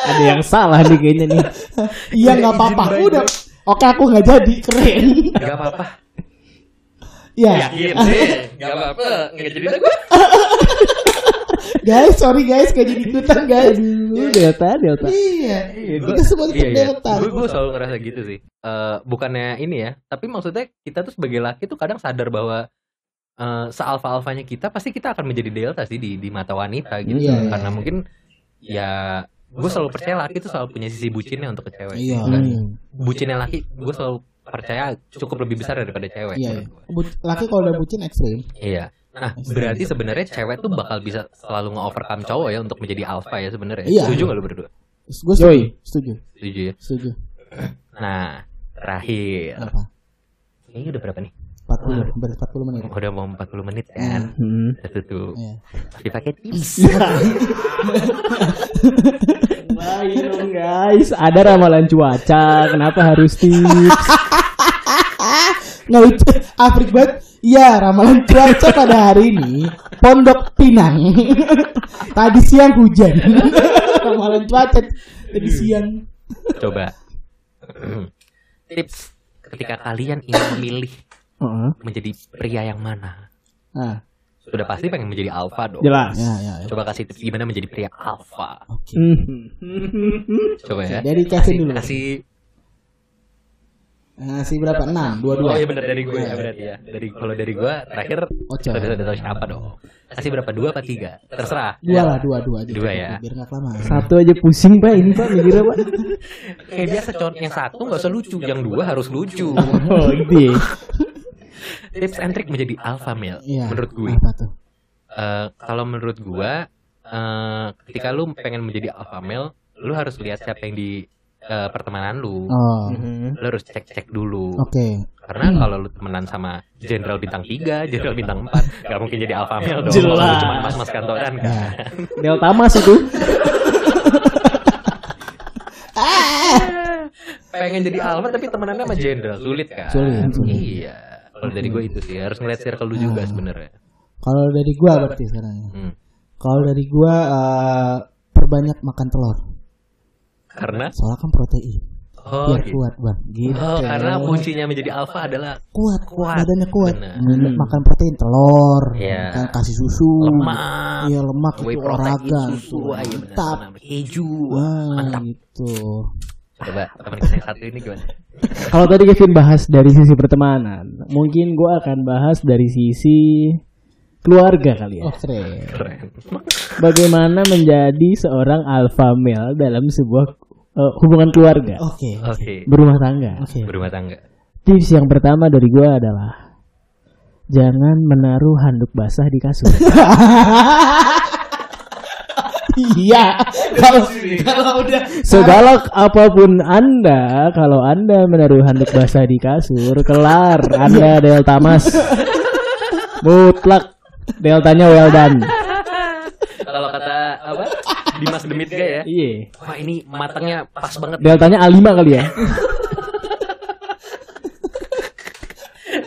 Speaker 1: Ada yang salah nih kayaknya nih.
Speaker 2: Iya nggak apa-apa. Udah. Oke aku nggak jadi
Speaker 3: <laughs>
Speaker 2: keren.
Speaker 3: Gak apa-apa.
Speaker 2: Iya.
Speaker 3: Yakin sih. Gak apa-apa. Gak jadi dah gue.
Speaker 2: guys, sorry guys nggak jadi ikutan guys.
Speaker 3: Iya.
Speaker 1: Aduh, delta delta.
Speaker 2: Iya.
Speaker 3: Gua-
Speaker 2: Kita semua di
Speaker 3: iya, iya.
Speaker 2: delta.
Speaker 3: Gue gue selalu ngerasa gitu sih. Eh, bukannya ini ya, tapi maksudnya kita tuh sebagai laki tuh kadang sadar bahwa eh sealfa alfanya kita pasti kita akan menjadi delta sih di di mata wanita gitu.
Speaker 2: Iya, iya,
Speaker 3: Karena
Speaker 2: iya.
Speaker 3: mungkin ya gue selalu percaya laki tuh selalu punya sisi bucinnya untuk ke cewek.
Speaker 2: Iya.
Speaker 3: Dan
Speaker 1: Hmm.
Speaker 3: Bucinnya laki gue selalu percaya cukup lebih besar daripada cewek.
Speaker 2: Iya.
Speaker 3: menurut gua.
Speaker 2: Bu- Laki kalau udah bucin ekstrim.
Speaker 3: Iya. Nah, berarti sebenarnya cewek tuh bakal bisa selalu nge-overcome cowok ya untuk menjadi alfa ya sebenarnya.
Speaker 2: Iya.
Speaker 3: Setuju gak lu berdua?
Speaker 2: Gue
Speaker 1: Yoi.
Speaker 2: setuju. Setuju.
Speaker 3: Setuju ya.
Speaker 2: Setuju.
Speaker 3: Nah, terakhir.
Speaker 2: Apa?
Speaker 3: Ini udah berapa nih?
Speaker 2: 40,
Speaker 3: Iya.
Speaker 2: hampir 40 menit.
Speaker 3: Udah mau 40 menit kan?
Speaker 1: Mhm.
Speaker 3: Itu tuh
Speaker 2: Iya.
Speaker 3: dipakai
Speaker 1: Iya.
Speaker 3: tips.
Speaker 1: Baik dong guys, ada ramalan cuaca, kenapa harus tips?
Speaker 2: Nggak lucu. Nah, <laughs> Afrik banget. Iya, ramalan cuaca pada hari ini Pondok Pinang. <laughs> Tadi siang hujan. <laughs> ramalan cuaca
Speaker 3: Iya.
Speaker 2: tadi siang.
Speaker 3: Coba. tips ketika kalian ingin memilih
Speaker 1: Heeh.
Speaker 3: menjadi pria yang mana?
Speaker 2: Nah,
Speaker 3: Sudah pasti pengen menjadi alfa dong.
Speaker 1: Jelas.
Speaker 2: ya, ya. ya.
Speaker 3: Coba kasih tips gimana menjadi pria alfa.
Speaker 2: Oke.
Speaker 1: Mhm.
Speaker 3: Coba ya.
Speaker 2: Dari kasih dulu.
Speaker 3: Kasih
Speaker 2: Nah, si berapa? 6, 2
Speaker 3: Oh iya Oh,
Speaker 2: 2.
Speaker 3: benar dari gue ya berarti ya. Dari kalau dari gue terakhir
Speaker 2: Ocha.
Speaker 3: sudah sudah tahu siapa dong. Kasih berapa? Dua apa tiga? Terserah.
Speaker 2: 2 lah, 2 2 aja.
Speaker 3: Dua ya.
Speaker 2: Biar enggak kelamaan.
Speaker 1: Satu aja pusing pak, ini pak mikirnya pak.
Speaker 3: Kayak biasa con yang satu nggak usah lucu, yang dua harus <laughs> lucu.
Speaker 1: Oh gitu. ya.
Speaker 3: Tips and trick menjadi alpha male
Speaker 2: Iya.
Speaker 3: menurut gue.
Speaker 2: Apa tuh?
Speaker 3: Eh, kalau menurut gua eh, ketika lu pengen menjadi alpha male, lu harus lihat siapa yang di eh, pertemanan lu.
Speaker 2: Oh.
Speaker 3: Lu harus cek-cek dulu.
Speaker 2: Oke.
Speaker 3: Karena kalau lu temenan sama jenderal bintang 3, jenderal bintang 4, nggak mungkin jadi alpha male dong.
Speaker 1: Jelas.
Speaker 3: Kalau lu Cuma mas-mas kantoran kan.
Speaker 2: Nah.
Speaker 1: Delta Mas itu.
Speaker 2: Ah!
Speaker 3: pengen jadi alpha tapi temenannya sama jenderal sulit kan
Speaker 2: Sulit, sulit. Hmm.
Speaker 3: iya kalau dari gue itu sih harus ngeliat circle lu juga sebenarnya
Speaker 2: Kalau dari gua berarti sekarang. ya.
Speaker 3: Hmm.
Speaker 2: Kalau dari gua eh, perbanyak makan telur.
Speaker 3: karena
Speaker 2: Soalnya kan protein.
Speaker 3: oh,
Speaker 2: Biar
Speaker 3: gitu.
Speaker 2: kuat, Bang.
Speaker 3: Oh, karena kuncinya menjadi alpha adalah
Speaker 2: kuat,
Speaker 3: Kuat.
Speaker 2: badannya kuat.
Speaker 3: Bener. Hmm.
Speaker 2: Minum- Makan protein, telur,
Speaker 3: Iya.
Speaker 2: kan, kasih susu,
Speaker 3: lemak
Speaker 2: iya lemak
Speaker 3: whey
Speaker 2: itu
Speaker 3: protein
Speaker 2: olahraga,
Speaker 3: susu wah, iya benar,
Speaker 2: Mantap.
Speaker 3: benar. keju
Speaker 2: Wah,
Speaker 3: mantap
Speaker 2: gitu.
Speaker 3: coba teman kita yang satu ini gimana
Speaker 1: Kalau tadi Kevin bahas dari sisi pertemanan, mungkin gue akan bahas dari sisi keluarga kali ya.
Speaker 2: Oh, keren.
Speaker 3: keren
Speaker 1: Bagaimana menjadi seorang alpha male dalam sebuah eh, hubungan keluarga,
Speaker 3: <laughs>
Speaker 2: Oke. Iya.
Speaker 3: oke
Speaker 1: berumah tangga.
Speaker 2: Oke.
Speaker 3: berumah tangga
Speaker 1: Tips yang pertama dari gue adalah jangan menaruh handuk basah di kasur.
Speaker 2: <laughs> Iya. Kalau kalau udah
Speaker 1: Segalak apapun Anda, kalau Anda menaruh handuk basah di kasur, kelar Anda
Speaker 2: Iya.
Speaker 1: Delta Mas. Mutlak deltanya well done.
Speaker 3: kalau kata apa Dimas Demit gak ya
Speaker 1: Iya.
Speaker 3: wah ini matangnya pas <laughs> banget
Speaker 1: Deltanya A5 kali ya.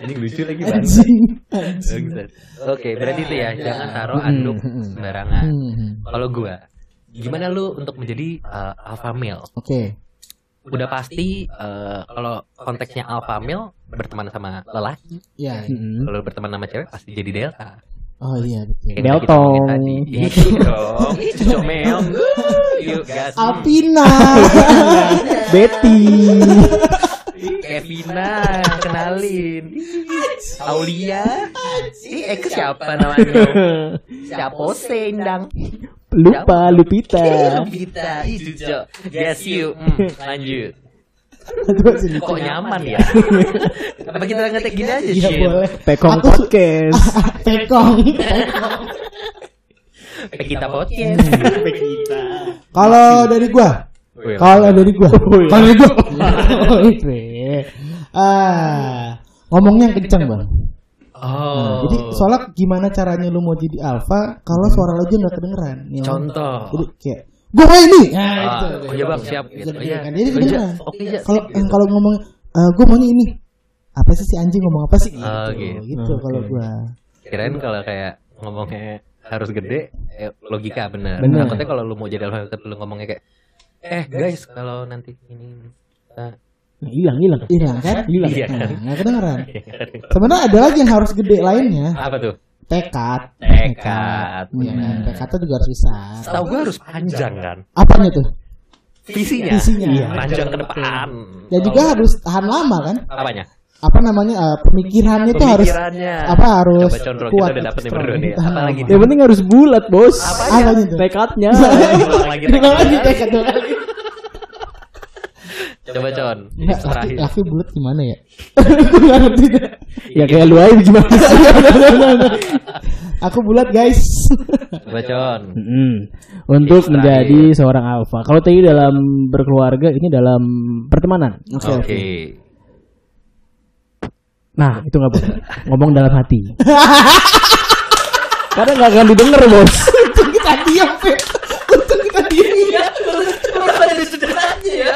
Speaker 3: Anjing lucu lagi Ya, gitu. banget.
Speaker 2: Anjing. Anjing.
Speaker 3: Bangsat. Oke, berarti itu ya, jangan taruh
Speaker 2: Hmm,
Speaker 3: anduk
Speaker 2: hmm.
Speaker 3: sembarangan.
Speaker 2: Hmm.
Speaker 3: Kalau gua, gimana lu untuk menjadi eh, alpha male?
Speaker 2: Oke.
Speaker 3: Udah pasti eh, kalau konteksnya alpha male berteman sama lelaki,
Speaker 2: Ya.
Speaker 3: Hmm.
Speaker 1: Mm-mm.
Speaker 3: kalau berteman sama cewek pasti jadi delta.
Speaker 2: Oh iya betul.
Speaker 3: Kayak
Speaker 1: Deltong.
Speaker 3: yang kita omongin tadi. <laughs> Iya dong. Comel. <laughs> Yuk gas.
Speaker 2: Alpina.
Speaker 1: Betty.
Speaker 3: Kevina, kenalin. Aulia. Si Eka siapa namanya? Siapa Sendang? Eh,
Speaker 1: Lupa Lupita. Nah,
Speaker 3: Kita Ijo. Gas yuk. Hmm, lanjut. Kok nyaman ya? <laughs> Apa kita ngetek gini aja
Speaker 2: Iya
Speaker 3: sih?
Speaker 2: boleh.
Speaker 1: Pekong
Speaker 2: Aku- <laughs>
Speaker 1: podcast.
Speaker 3: <laughs>
Speaker 2: Tekong.
Speaker 3: Kita Hmm. podcast.
Speaker 2: Kalau dari gua, kalau dari gua, kalau dari gua, ah ngomongnya yang kenceng bang.
Speaker 3: Oh.
Speaker 2: Jadi soalnya gimana caranya lu mau jadi alpha kalau suara lu aja nggak kedengeran. Nih,
Speaker 3: Contoh.
Speaker 2: Jadi kayak gue ini. Nah, gitu.
Speaker 3: Ah, oh iya bang siap.
Speaker 2: Jadi
Speaker 3: Oh iya.
Speaker 2: kedengeran. Jadi
Speaker 3: Oh, iya.
Speaker 2: kedengeran.
Speaker 3: Oke iya.
Speaker 2: Kalau eh, kalau ngomong eh gue maunya ini. Apa sih si anjing ngomong apa sih? Gitu,
Speaker 3: Ah, gitu.
Speaker 2: gitu kalau gua.
Speaker 3: Kirain kalau kayak ngomongnya harus gede, eh, logika bener.
Speaker 1: Bener.
Speaker 3: Takutnya kalau lu mau jadi alpha male, lu ngomongnya kayak, eh guys kalau nanti ini kita
Speaker 1: Nah, Hilang, hilang.
Speaker 2: Hilang kan?
Speaker 1: Hilang.
Speaker 3: Iya
Speaker 2: Nah,
Speaker 3: kan?
Speaker 2: nggak kedengeran. Sebenarnya ada lagi yang harus gede lainnya.
Speaker 3: Apa tuh?
Speaker 2: Tekad.
Speaker 3: Tekad.
Speaker 2: Iya, kan? tekadnya juga harus bisa.
Speaker 3: Tahu gue harus panjang kan?
Speaker 2: Apanya tuh?
Speaker 3: Visinya. Ya
Speaker 2: Visinya. Iya.
Speaker 3: Panjang ke depan. Oh.
Speaker 2: Dan juga harus tahan lama kan?
Speaker 3: apanya?
Speaker 2: Apa namanya? eh, pemikirannya tuh harus
Speaker 3: Pemikirannya.
Speaker 2: apa harus
Speaker 3: Coba condro kita
Speaker 2: kuat,
Speaker 3: udah dapet nih
Speaker 2: strong,
Speaker 3: berdua nih.
Speaker 2: tahan
Speaker 3: Apalagi
Speaker 2: lama.
Speaker 1: Yang penting harus bulat, Bos.
Speaker 2: Apanya? Apanya tuh?
Speaker 1: Tekadnya.
Speaker 3: Ulang lagi,
Speaker 2: Ulang lagi,
Speaker 3: tekad.
Speaker 2: tekad, ulang lagi.
Speaker 3: Coba con.
Speaker 2: Nggak,
Speaker 3: Tips
Speaker 2: laki,
Speaker 3: terakhir.
Speaker 2: laki bulat gimana ya? <laughs> Nggak ngerti deh.
Speaker 1: <laughs> ya kayak lu aja gimana sih?
Speaker 2: Aku bulat guys. <laughs>
Speaker 3: Coba con.
Speaker 1: Mm-mm. Untuk
Speaker 3: Terakhir.
Speaker 1: menjadi seorang alfa. Kalau tadi dalam berkeluarga, ini dalam pertemanan.
Speaker 2: Oke.
Speaker 3: Oke.
Speaker 1: Nah, itu nggak boleh. Ngomong dalam hati. <laughs> Karena nggak akan didengar, Bos.
Speaker 2: Untung kita diam, Fit. Untung kita diam.
Speaker 3: Kenapa ada sederhananya ya?